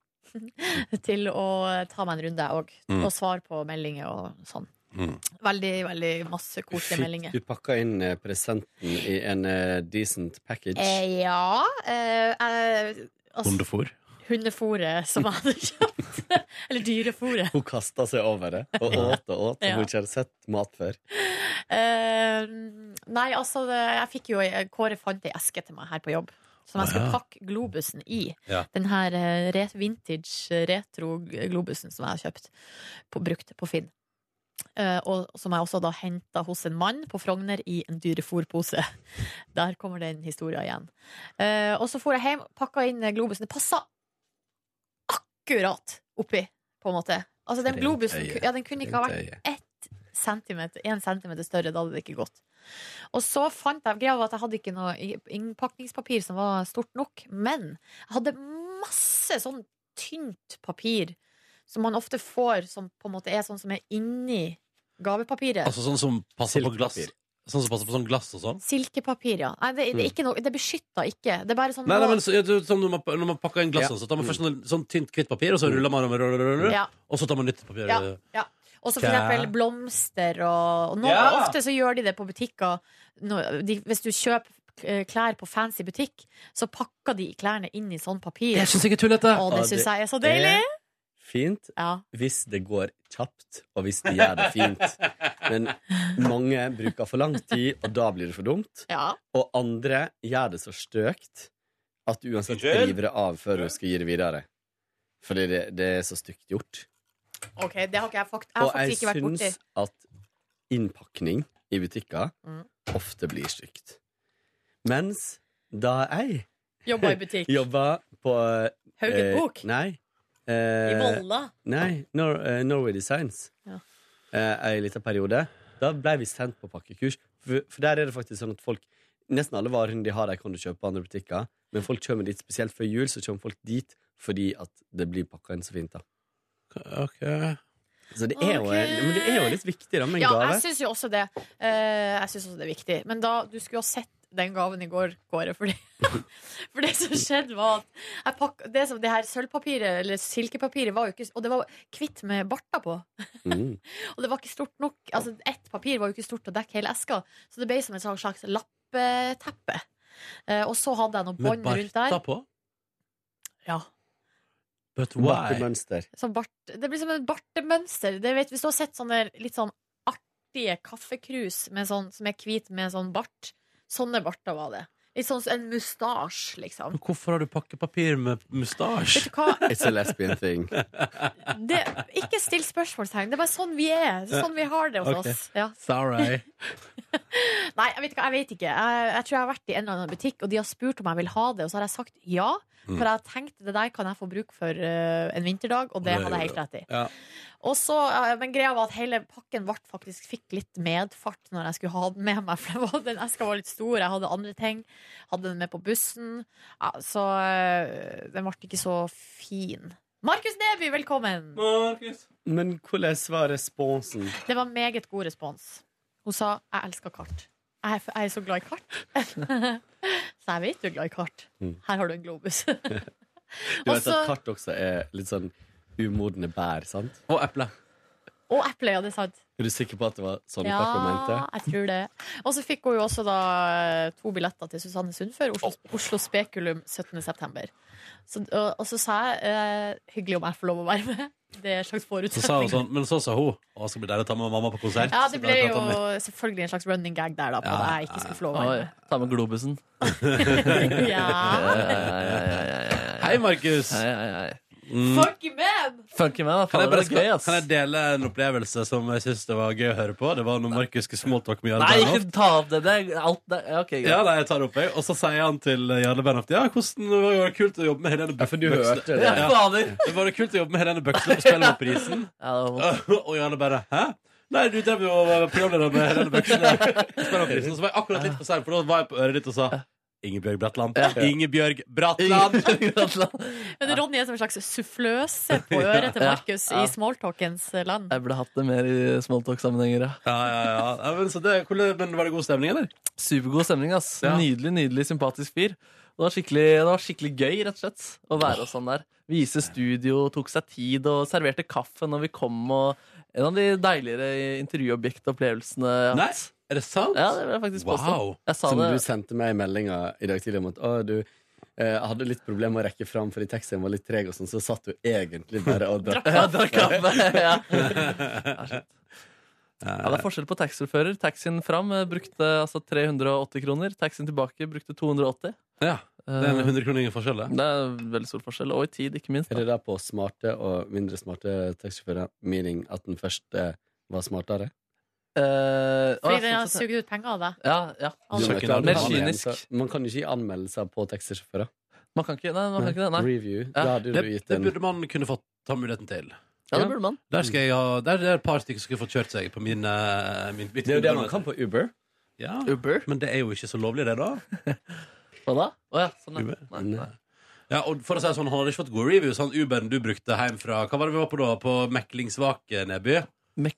S2: til å ta meg en runde jeg òg.
S1: Mm.
S2: Og svare på meldinger og sånn.
S1: Mm.
S2: Veldig, veldig masse koselige meldinger.
S11: du pakka inn eh, presenten i en eh, decent package?
S2: Eh, ja eh, jeg- altså,
S1: Hundefôr.
S2: Hundefôret som jeg hadde kjøpt. Eller dyrefôret.
S11: Hun kasta seg over det og åt og åt. og
S2: Ja.
S11: Hun ikke hadde sett mat før.
S2: Eh, nei, altså, det- jeg fikk jo Kåre fant ei eske til meg her på jobb. Som jeg skulle
S1: Å, ja.
S2: pakke globusen i.
S1: Ja.
S2: Den her eh, re vintage eh, retro globusen som jeg har kjøpt på, brukt på Finn. eh, og som jeg også da henta hos en mann på Frogner i en dyrefòrpose. Der kommer den historien igjen. Eh, og så for jeg hjem, pakka inn eh, globusen. Det passa akkurat oppi, på en måte. Altså den
S11: Rent
S2: globusen
S11: øye.
S2: ku- ja, den kunne ikke ha
S11: Rent
S2: vært ett centimeter, en centimeter større. Da hadde det ikke gått. Og så fant jeg Greia var at jeg hadde ikke noe i- innpakningspapir som var stort nok. Men jeg hadde masse sånn tynt papir som man ofte får, som på en måte er sånn som er inni gavepapiret.
S1: Altså sånn som passer på glass
S11: Silkepapir.
S1: Sånn som passer på sånn glass og sånn?
S2: Silkepapir, ja. Nei, det, det, er ikke noe, det beskytter ikke. Det er bare sånn
S1: Mm. Nei, nei, men så, ja, du- sånn når, man, når man pakker inn glass,
S11: Ja.
S1: og så tar man først sånn, sånn tynt hvitt papir, og så ruller man over, ruller, ruller, ruller,
S2: Ja.
S1: og så tar man nytt papir.
S2: Ja. Ja. Og så for
S1: Kjæ.
S2: eksempel blomster og, og nå,
S1: Ja.
S2: Ofte så gjør de det på butikker. Nå- de, hvis du kjøper eh, klær på fancy butikk, så pakker de klærne inn i sånn papir.
S1: Jeg syns ikke tullete!
S2: Å, det
S11: Ja,
S2: syns
S11: det
S2: jeg er så deilig!
S11: Eh, Fint
S2: Ja.
S11: hvis det går kjapt, og hvis de gjør det fint. Men mange bruker for lang tid, og da blir det for dumt.
S2: ja.
S11: Og andre gjør det så støkt at du uansett
S1: Unnskyld?
S11: river det av før du skal gi det videre. Fordi det, det er så stygt gjort.
S2: OK, det har ikke jeg fakt jeg har
S11: Og jeg
S2: faktisk ikke vært borti.
S11: syns at innpakning i butikker
S2: Mm.
S11: ofte blir stygt. Mens da jeg
S2: Jobba i butikk.
S11: jobba på eh,
S2: Haugenbok.
S11: Nei.
S2: I
S11: Eh,
S2: Volda.
S11: Nei, Nor eh, Norway Designs.
S2: Ja.
S11: Eh, en liten periode. Da ble vi sendt på pakkekurs. For, for der er det faktisk sånn at folk Nesten alle varene de har, de kan du kjøpe på andre butikker. Men folk kommer dit spesielt før jul, så kommer folk dit fordi at det blir pakka inn så fint. da
S1: Ok.
S11: Så det er, jo,
S2: Ok.
S11: men det er jo litt viktig da med en
S2: Ja,
S11: gave.
S2: jeg syns jo også det. Eh, jeg synes også det er viktig. Men da, du skulle ha sett den gaven i går, Kåre. Fordi, for det som skjedde, var at jeg pakk, det, som, det her sølvpapiret, eller silkepapiret, var jo ikke Og det var hvitt med barter på.
S11: Mm.
S2: Og det var ikke stort nok. Altså, ett papir var jo ikke stort til å dekke hele eska, så det ble som et sånn slags lappeteppe. Eh, og så hadde jeg noe
S1: Med
S2: bånd rundt der.
S1: barta på?
S2: Ja.
S1: But
S11: Vakkert
S1: why?
S11: mønster.
S2: Sånn bart, det blir som et bartemønster. Det vet, hvis du har sett sånne litt sånn artige kaffekrus med sånn, som er hvit med sånn bart, sånne barter var det. Litt sånn som en mustasje, liksom.
S1: Men hvorfor har du pakkepapir med
S2: Vet
S1: mustasje?
S2: du hva?
S11: It's a lesbian thing.
S2: Det, ikke still spørsmålstegn. Det er bare sånn vi er. Det er Sånn vi har det hos
S1: Ok.
S2: oss. Ja.
S1: Sorry.
S2: Nei, jeg vet ikke. Jeg, vet ikke. Jeg, jeg tror jeg har vært i en eller annen butikk, og de har spurt om jeg vil ha det, og så har jeg sagt ja. For jeg har tenkt det der kan jeg få bruk for eh, en vinterdag, og det
S1: det
S2: hadde jeg helt
S1: gjorde
S2: rett i.
S1: Ja.
S2: Og så, eh, men greia var at hele pakken ble faktisk fikk litt medfart når jeg skulle ha den med meg. For det var, den eska var litt stor, jeg hadde andre ting. Hadde den med på bussen. Ja, så eh, den ble ikke så fin. Markus Neby, velkommen!
S11: Men hvordan var responsen?
S2: Det var meget god respons. Hun sa 'jeg elsker kart'. Jeg er, jeg er så glad i kart. så jeg vet du er glad i kart.
S1: Mm.
S2: Her har du en globus.
S11: Du
S2: Og
S11: vet
S2: så-
S11: at kart også er litt sånn umodne bær, sant?
S1: Og eple.
S2: Og eple, ja, det er sant.
S11: Er du sikker på at det var sånn
S2: Ja,
S11: kart hun mente?
S2: jeg tror det. Og så fikk hun jo også da eh, to billetter til Susanne Sundfør, Oslo, Oslo Spekulum 17. september. Så, og, og så sa jeg eh, 'hyggelig om jeg får lov å være med'. Det er en slags
S1: Så sa
S2: forutsetning.
S1: hun sånn, men så sa hun Å, det skal bli deilig å ta med mamma på konsert.
S2: Ja, det
S1: Så da
S2: ble jo
S1: pratet vi.
S2: selvfølgelig en slags running gag der, da, på
S1: Ja,
S2: at jeg ikke skulle få lov å
S3: Oi,
S2: være med.
S3: ta med globusen.
S2: Ja.
S3: Hei, hei, hei, hei, hei.
S1: Hei, Markus!
S3: Hei, hei, hei.
S2: Fuck men!
S3: Funky man, da.
S1: Kan jeg,
S3: Fader,
S1: bare,
S3: det er gøy, ass.
S1: kan jeg dele en opplevelse som jeg syns det var gøy å høre på? Det var når Markus skulle smalltalke med Jarle
S3: Nei,
S1: Bernhoft.
S3: ikke ta opp det. Det er alt det. Ja, ok, greit.
S1: Ja, nei, jeg tar det opp, jeg. Og så sier han til Jarle Bernhoft Ja, hvordan var det kult å jobbe med Helene
S11: Ja, for du
S1: Bøksle?
S11: hørte det.
S1: Ja, ja.
S3: Fader.
S1: Det var det kult å jobbe med Helene Bøksle på Spellemannprisen.
S3: Ja, det var vondt.
S1: og Jarle bare Hæ? Nei, du drev jo og var programleder med Helene Bøksle på Spellemannprisen. Og så var jeg akkurat litt for sein, for da var jeg på øret ditt og sa Ingebjørg Bratland. Ingebjørg Bratland!
S2: Men Ronny er som en slags suffløse på øret til Markus i smalltalkens eh, land.
S3: Jeg burde hatt det mer i smalltalk-sammenhenger. ja.
S1: Ja, ja, ja. ja men, så det, hvordan- men var det god stemning, eller?
S3: Supergod stemning, ass.
S1: Ja.
S3: Nydelig, nydelig sympatisk fyr. Det var, skikkelig, det var skikkelig gøy, rett og slett, å være hos han der. Vise studio, tok seg tid og serverte kaffe når vi kom. og En av de deiligere intervjuobjektopplevelsene jeg har
S1: Nei,
S3: hatt.
S1: er det sant?
S3: Ja, det vil jeg faktisk påstå.
S1: Wow.
S3: Jeg sa
S11: Som
S3: det.
S11: du sendte meg i meldinga i dag tidlig om at å, du eh, hadde litt problemer med å rekke fram fordi teksten var litt treg, og sånn, så satt du egentlig bare og drakk.
S3: Ja, drakk kaffe. ja. Ja, shit. ja, det er forskjell på taxifører. Taxien fram eh, brukte altså 380 kroner. Taxien tilbake brukte 280.
S1: Ja, det er en 100 kroninger forskjell, det.
S3: Det er veldig stor forskjell. Og i tid, ikke minst.
S11: Er
S3: Da.
S11: det der på smarte og mindre smarte taxisjåfører, meaning at den første var smartere.
S3: Eh, å,
S2: Fordi
S3: jeg
S2: den har
S3: fortsatt-
S2: sugd ut penger av deg.
S3: Ja, ja.
S2: Altså.
S11: Man
S3: Søker
S11: kan
S3: navn. Mer
S11: ikke gi
S3: kynisk.
S11: anmeldelser- Man kan ikke gi anmeldelser på taxisjåfører.
S3: Man kan ikke, nei, man kan ikke det. Nei.
S11: Review. Da hadde
S1: Det,
S11: du gitt
S1: det
S11: en
S1: burde man kunne fått ta muligheten til.
S3: Ja, det burde man.
S1: Der, skal jeg ha, der er det et par stykker som skulle fått kjørt seg på min, eh, min mitt
S11: Det er jo det man
S1: kilometer.
S11: kan på Uber.
S1: Ja.
S3: Uber?
S1: Men det er jo ikke så lovlig, det, da.
S3: Hva da? Å ja, sånn ja.
S1: Uber?
S3: Nei, nei.
S1: Ja, og for å si det sånn, Han hadde ikke fått gode reviews, han Uberen du brukte hjem fra Hva var det vi var på da? På Meklingsvake Neby?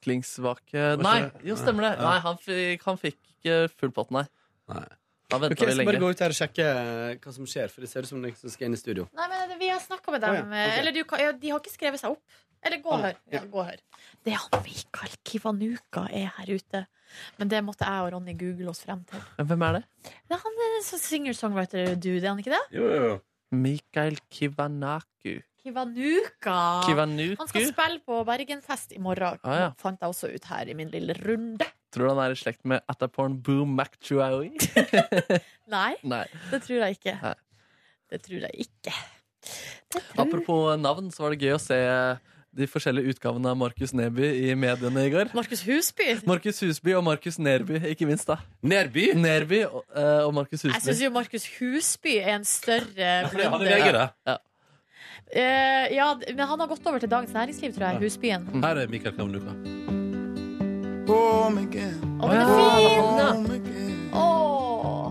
S3: Meklingsvake Nei, jo, stemmer det. Nei, han fikk, han fikk ikke full pott, nei.
S1: Nei.
S3: Da
S11: Ok,
S3: venta
S11: jeg
S3: vi
S11: skal bare
S3: lenge.
S11: gå ut her og sjekke eh, hva som skjer, for det ser ut som noen som skal inn i studio.
S2: Nei, men Vi har snakka med dem. eh,
S11: Å, ja, ok.
S2: Eller du, kan- ja, de har ikke skrevet seg opp. Eller gå og hør.
S11: ja.
S2: Gå og hør. Det er han Mikael Kivanuka er her ute. Men det måtte jeg og Ronny google oss frem til.
S3: Hvem er det?
S2: Det er han eh, som singer-songwriter-dude, er han ikke det?
S1: Jo, jo, jo.
S3: Mikael Kivanaku.
S2: Kivanuka. Han skal
S3: Kivanuku?
S2: spille på Bergenfest i morgen.
S3: Ah, ja.
S2: Fant jeg også ut her i min lille runde.
S3: Tror du han er i slekt med Ataporn Boom McTrowie?
S2: Nei,
S3: Nei.
S2: det tror jeg ikke.
S3: Nei.
S2: Det tror jeg ikke. Det tror...
S3: Apropos navn, så var det gøy å se de forskjellige utgavene av Markus Neby i mediene i går.
S2: Markus Husby.
S3: Markus Husby og Markus Nerby, ikke minst. da
S1: Nerby?
S3: Nerby og, eh, og Markus
S2: Jeg syns
S3: Husby.
S2: jo Markus Husby er en større
S1: Fordi han er
S2: blunder.
S1: lege, det.
S2: Eh, ja, d- men han har gått over til Dagens Næringsliv, tror jeg. Husbyen.
S1: Her er Mikael Kavnuka.
S5: Home again,
S2: Å, den er fin!
S3: Ja.
S5: home again.
S2: Åh.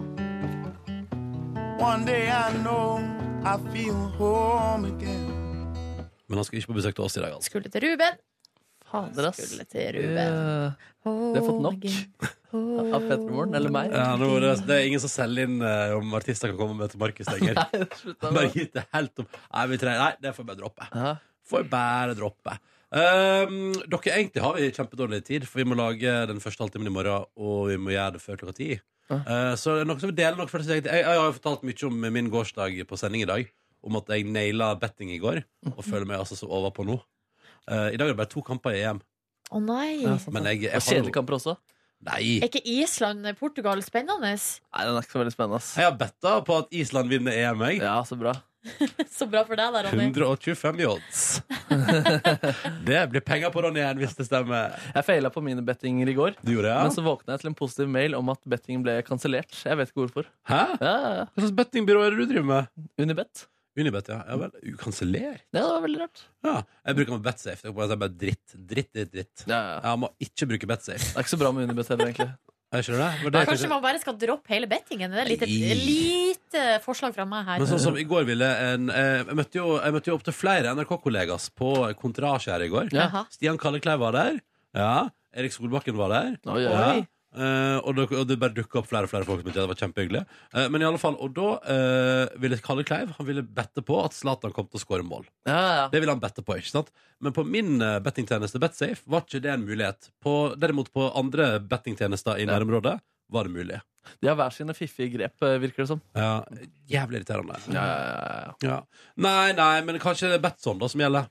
S5: One day I know I feel home again.
S1: Men han skal ikke på besøk til oss i dag, altså.
S2: Skulle til Ruben.
S3: Fader, ass.
S2: Skulle til Ruben.
S3: Eh,
S2: Vi
S3: har fått nok av Petremorgen, eller meg.
S1: Ja, nå, det, det er ingen som selger inn eh, om artister kan komme med til Markus lenger.
S3: Nei, slutt da.
S1: Bare gitt det helt opp. Nei, vi trenger, nei, det får jeg bare droppe.
S3: Ja.
S1: Får jeg bare droppe. Um, dere, egentlig har vi kjempedårlig tid, for vi må lage den første halvtimen i morgen, og vi må gjøre det før klokka ti. Uh, så er det noen som vil dele noe fra sitt eget jeg, jeg har jo fortalt mye om min gårsdag på sending i dag. Om at jeg naila betting i går, og føler meg altså så overpå nå. Uh, I dag er det bare to kamper i
S2: Å
S1: EM.
S2: nei.
S3: Ja, sant,
S1: Men
S3: sant.
S1: jeg, jeg
S3: Og
S1: har jo
S3: kjedelige kamper også.
S1: Nei!
S2: Er ikke Island-Portugal spennende?
S3: Nei, den er ikke så veldig spennende. ass.
S1: Jeg har betta på at Island vinner EM, jeg.
S3: Ja, så bra.
S2: Så bra for deg, da, Ronny.
S1: 125 i odds. det blir penger på Ronny igjen, hvis det stemmer.
S3: Jeg feila på mine bettinger i går,
S1: Du gjorde
S3: men
S1: det, ja?
S3: så våkna jeg til en positiv mail om at bettingen ble kansellert. Jeg vet ikke hvorfor.
S1: Hæ?
S3: Ja, ja, ja.
S1: Hva slags bettingbyrå er det du driver med?
S3: Unibet.
S1: Unibet, ja. ja vel. Ukanseller?
S3: Ja, det var veldig rart.
S1: Ja. Jeg bruker med BetSafe. Det er bare- det er bare dritt. Dritt, dritt, dritt.
S3: Ja, ja.
S1: Jeg må ikke bruke BetSafe.
S3: Det er ikke så bra med Unibet heller, egentlig.
S1: Er ikke det? det? Var det jeg
S2: Kanskje
S1: tenkte.
S2: man bare skal droppe hele bettingen? Det er et
S1: Nei.
S2: lite, lite forslag fra meg her.
S1: Men sånn som i går ville en, eh, Jeg møtte jo, jeg møtte jo opptil flere NRK-kollegas på Kontrasje her i går.
S2: Jaha.
S1: Stian Kallekleiv var der. Ja. Erik Solbakken var der.
S3: Oi, oi,
S1: Ja.
S3: oi.
S1: Eh, og, det, og det bare dukka opp flere og flere folk. som ikke- Det var kjempehyggelig. Eh, men i alle fall, og da eh, ville Kalle Kleiv Han ville bette på at Zlatan kom til å skåre mål.
S3: Ja, ja.
S1: Det ville han bette på, ikke sant? Men på min eh, bettingtjeneste BetSafe var ikke det en mulighet. På, derimot på andre bettingtjenester i nærområdet var det mulig.
S3: De har hver sine fiffige grep, eh, virker det som.
S1: Ja, jævlig irriterende.
S3: Ja, ja,
S1: Ja. Nei, nei, men kanskje det er Betson da som gjelder.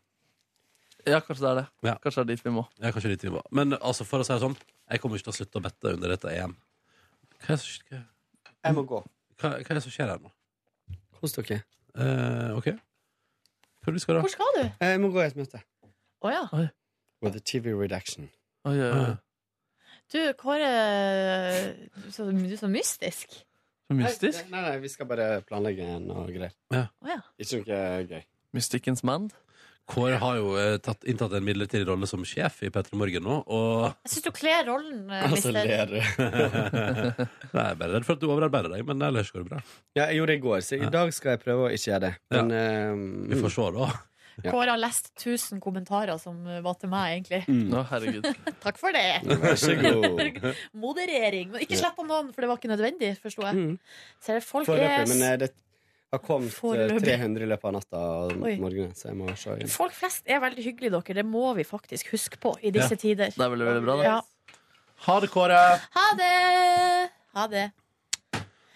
S3: ja. ja kanskje det er det.
S1: Ja.
S3: Kanskje det er dit vi må.
S1: Ja, kanskje litt nivå. Men altså, for å si det sånn, jeg kommer ikke til å slutte å bette under dette EM. Hva er det som- hva-
S11: Jeg må gå.
S1: hva er det som skjer her nå?
S11: Kos dere.
S1: Eh, OK. Hva er det du skal da?
S2: Hvor skal du?
S11: Eh, Jeg må gå i et møte.
S2: Å ja.
S11: With the TV redaction.
S3: Oi, oi, oi.
S2: Du, Kåre Du er så, du er så mystisk.
S3: Så mystisk.
S11: Nei, nei, nei, vi skal bare planlegge noe greier.
S2: Å ja.
S11: Ikke noe gøy.
S3: Mystikkens mann.
S1: Kåre har jo eh, tatt, inntatt en midlertidig rolle som sjef i P3 Morgen nå, og
S2: Jeg syns du kler rollen, eh, mister.
S11: Altså, ler du.
S1: Nei, Jeg er bare redd for at du overarbeider deg, men ellers går det bra.
S11: Ja, jeg gjorde det i går, så i dag skal jeg prøve å ikke gjøre det. Men eh,
S1: Vi får se, da.
S11: Ja.
S2: Kåre har lest 1000 kommentarer som eh, var til meg, egentlig.
S11: mm,
S3: Å, herregud.
S2: Takk for det.
S11: Vær så god.
S2: Moderering. Men ikke slett på noen, for det var ikke nødvendig, forsto jeg.
S11: Mm.
S2: Ser du, folk
S11: Foreløpig,
S2: er
S11: men eh, det har kommet eh,
S2: Foreløpig.
S11: 300 i løpet av natta og
S2: Oi.
S11: morgenen, så jeg må se igjen.
S2: Folk flest er veldig hyggelige, dere. Det må vi faktisk huske på i disse tider.
S3: Det er veldig, veldig bra, det.
S2: Ja.
S1: Ha det, Kåre!
S2: Ha det! Ha det.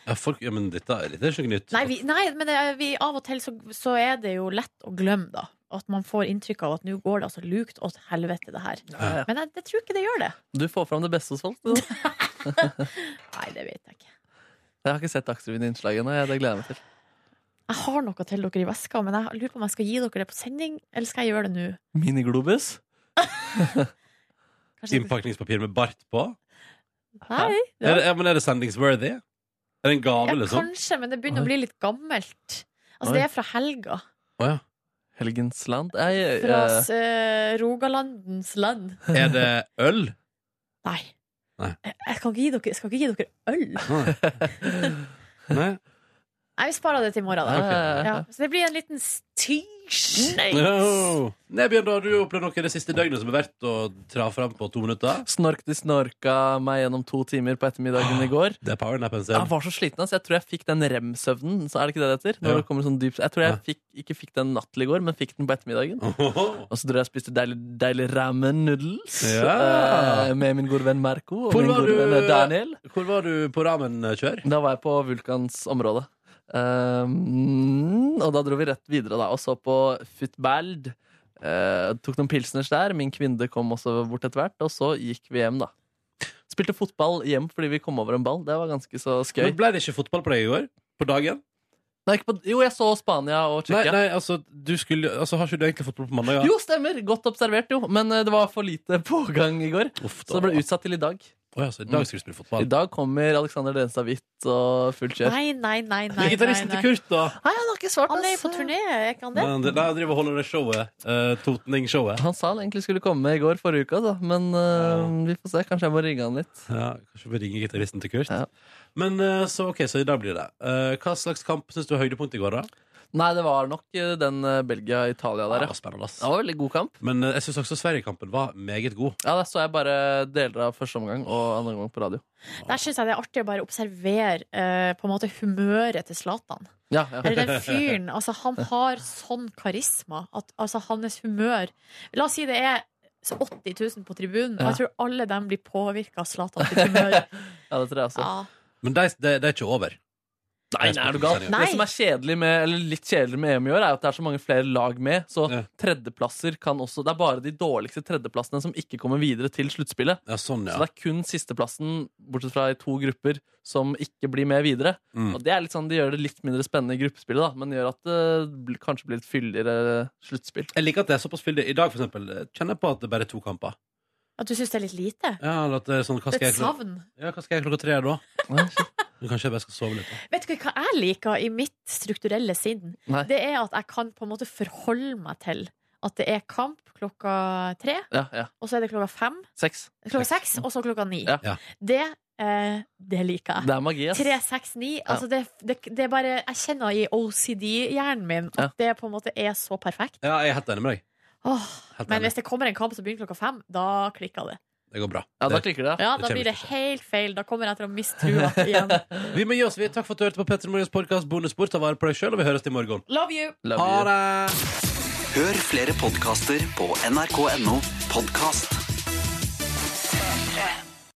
S1: Ja, folk, ja, men dette, dette er ikke noe nytt.
S2: Nei, vi, nei men det, er- vi, av og til så, så er det jo lett å glemme, da. At man får inntrykk av at nå går det altså lukt åt helvete, det her.
S3: Ja, ja.
S2: Men jeg, jeg tror ikke det gjør det.
S3: Du får fram det beste hos folk. du. Jeg
S2: Nei, det vet jeg ikke.
S3: har ikke sett Dagsrevyen-innslaget ennå. jeg- Det gleder jeg meg til.
S2: Jeg har noe til dere i veska, men jeg lurer på om jeg skal gi dere det på sending, eller skal jeg gjøre det nå?
S3: Miniglobus?
S2: Kanskje-
S1: Innpakningspapir med bart på?
S2: Nei.
S1: Er, det, ja, men er det sendingsworthy? Er det en gave,
S2: Ja,
S1: liksom?
S2: kanskje, men det begynner å bli litt gammelt. Altså, det er fra helga.
S3: Helgens land? Jeg,
S2: Fra
S3: eh,
S2: eh, Rogalandens land.
S1: Er det øl?
S2: Nei.
S1: Nei.
S2: Jeg, jeg, kan ikke gi dere, jeg skal ikke gi dere øl.
S1: Nei?
S2: Nei, vi sparer det til i morgen, da.
S3: Ok.
S2: Ja, så det blir en liten stinksnøys.
S1: No. Oh. Nebjørn, da har du opplevd noe det siste døgnet som er verdt å tra fram på to minutter?
S3: Snork de snorka meg gjennom to timer på ettermiddagen i går.
S1: Det er powernappen sin.
S3: Jeg var så sliten, ass. Jeg tror jeg fikk den rem-søvnen. Så er det ikke det det heter? Når
S1: Ja.
S3: det kommer sånn dyp Jeg tror
S1: Ja.
S3: jeg fikk, ikke fikk den nattlig i går, men fikk den på ettermiddagen. Og så dro jeg og spiste deilig, deilig ramen noodles
S1: Ja.
S3: eh, med min gode venn Merko og
S1: Hvor
S3: min
S1: var
S3: gode
S1: du-
S3: venn eh, Daniel.
S1: Hvor var du på eh, ramen-kjør?
S3: Da var jeg på Vulkans område. Ehm, og da dro vi rett videre da, og så på Futbald. Eh, tok noen pilsners der. Min kvinne kom også bort etter hvert. Og så gikk vi hjem, da. Spilte fotball hjem fordi vi kom over en ball. Det var ganske så skøy.
S1: Men Ble det ikke fotball på deg i går? På dagen?
S3: Nei, ikke på, jo, jeg så Spania
S1: Nei,
S3: og Tsjekkia.
S1: nei, altså, du skulle, altså, har ikke du egentlig fotball på mandag?
S3: Jo, stemmer! Godt observert, jo. Men eh, det var for lite pågang i går.
S1: Uff,
S3: Så det ble utsatt til i dag.
S1: Å ja, så i dag skal du spille
S3: I
S1: fotball.
S3: dag kommer Alexander Denstad Hvitt og fullt kjør.
S2: Nei, nei, nei. nei,
S1: Men
S2: nei,
S1: Gitaristen til
S2: nei.
S1: Kurt, da?
S3: Nei, han har ikke svart,
S2: Han er jo
S3: ass.
S2: på turné, er ikke han det?
S1: Men det- Nei, han driver og holder det showet. eh, Totning-showet.
S3: Han sa han egentlig skulle komme i går forrige uke, altså. men eh, vi får se. Kanskje jeg må ringe han litt.
S1: Ja, kanskje vi ringer gitaristen til Kurt.
S3: Ja.
S1: Men eh, så ok, så i dag blir det. Eh, Hva slags kamp syns du var høydepunkt i går, da?
S3: Nei, det var nok eh, den eh, Belgia-Italia der.
S1: Det
S3: Ja.
S1: var spennende, ass.
S3: Det var veldig god kamp.
S1: Men eh, jeg syns også Sverigekampen var meget god.
S3: Ja, Der så jeg bare deler av første omgang og andre omgang på radio.
S2: Der syns jeg det er artig å bare observere eh, på en måte humøret til Zlatan.
S3: Ja, ja.
S2: Eller den fyren. Altså, han har sånn karisma at altså, hans humør La oss si det er så 80 000 på tribunen, og jeg tror alle dem blir påvirka av Zlatan sitt humør.
S3: ja det tror jeg også.
S2: Ja.
S1: Men det de, de er ikke over.
S3: Nei, nei, er du gal?
S2: Nei.
S3: Det som er kjedelig med, eller litt kjedelig med EM i år, er at det er så mange flere lag med. Så
S1: Ja.
S3: tredjeplasser kan også Det er bare de dårligste tredjeplassene som ikke kommer videre til sluttspillet.
S1: Ja, sånn,
S3: Så det
S1: ja.
S3: er kun sisteplassen, bortsett fra i to grupper, som ikke blir med videre.
S1: Mm.
S3: Og det er litt sånn, det gjør det litt mindre spennende i gruppespillet, da, men gjør at det bl- kanskje blir et fyldigere sluttspill.
S1: Jeg liker at det er såpass fyldig. I dag, for eksempel, eh, kjenner jeg på at det bare er to kamper.
S2: At du syns det er litt lite?
S1: Ja, eller at det er sånn, hva
S2: Det
S1: skal,
S2: er et
S1: jeg, klok-
S2: savn.
S1: ja, hva skal jeg klokka tre da?
S3: Nei, shit.
S1: Kanskje jeg bare skal sove litt? da.
S2: Vet du hva jeg liker i mitt strukturelle sinn?
S3: Nei.
S2: Det er at jeg kan på en måte forholde meg til at det er kamp klokka tre,
S3: Ja, ja.
S2: og så er det klokka fem,
S3: Seks.
S2: klokka seks, og så klokka ni.
S3: Ja.
S1: Ja.
S2: Det, eh, det liker jeg.
S3: Det er magi, ass.
S2: Tre, seks, ni. Altså det, det, det er bare Jeg kjenner i OCD-hjernen min at
S3: Ja.
S2: det på en måte er så perfekt.
S1: Ja, jeg er helt enig med deg.
S2: Åh,
S1: Helt
S2: men
S1: enig.
S2: hvis det kommer en kamp som begynner klokka fem, da klikker det.
S1: Det går bra.
S3: Ja, da
S1: Det-
S3: klikker det.
S2: Ja,
S1: det
S2: Da
S1: kommer
S2: blir det
S1: ikke til
S2: helt feil. Da kommer jeg til å miste trua igjen.
S1: Vi må gi oss. vi. Takk for at du hørte på Petter Morgens podkast Bonusbord. Ta vare på deg sjøl, og vi høres i morgen.
S2: Love you!
S3: Love
S1: Ha
S3: you.
S1: det!
S12: Hør flere podkaster på nrk.no podkast.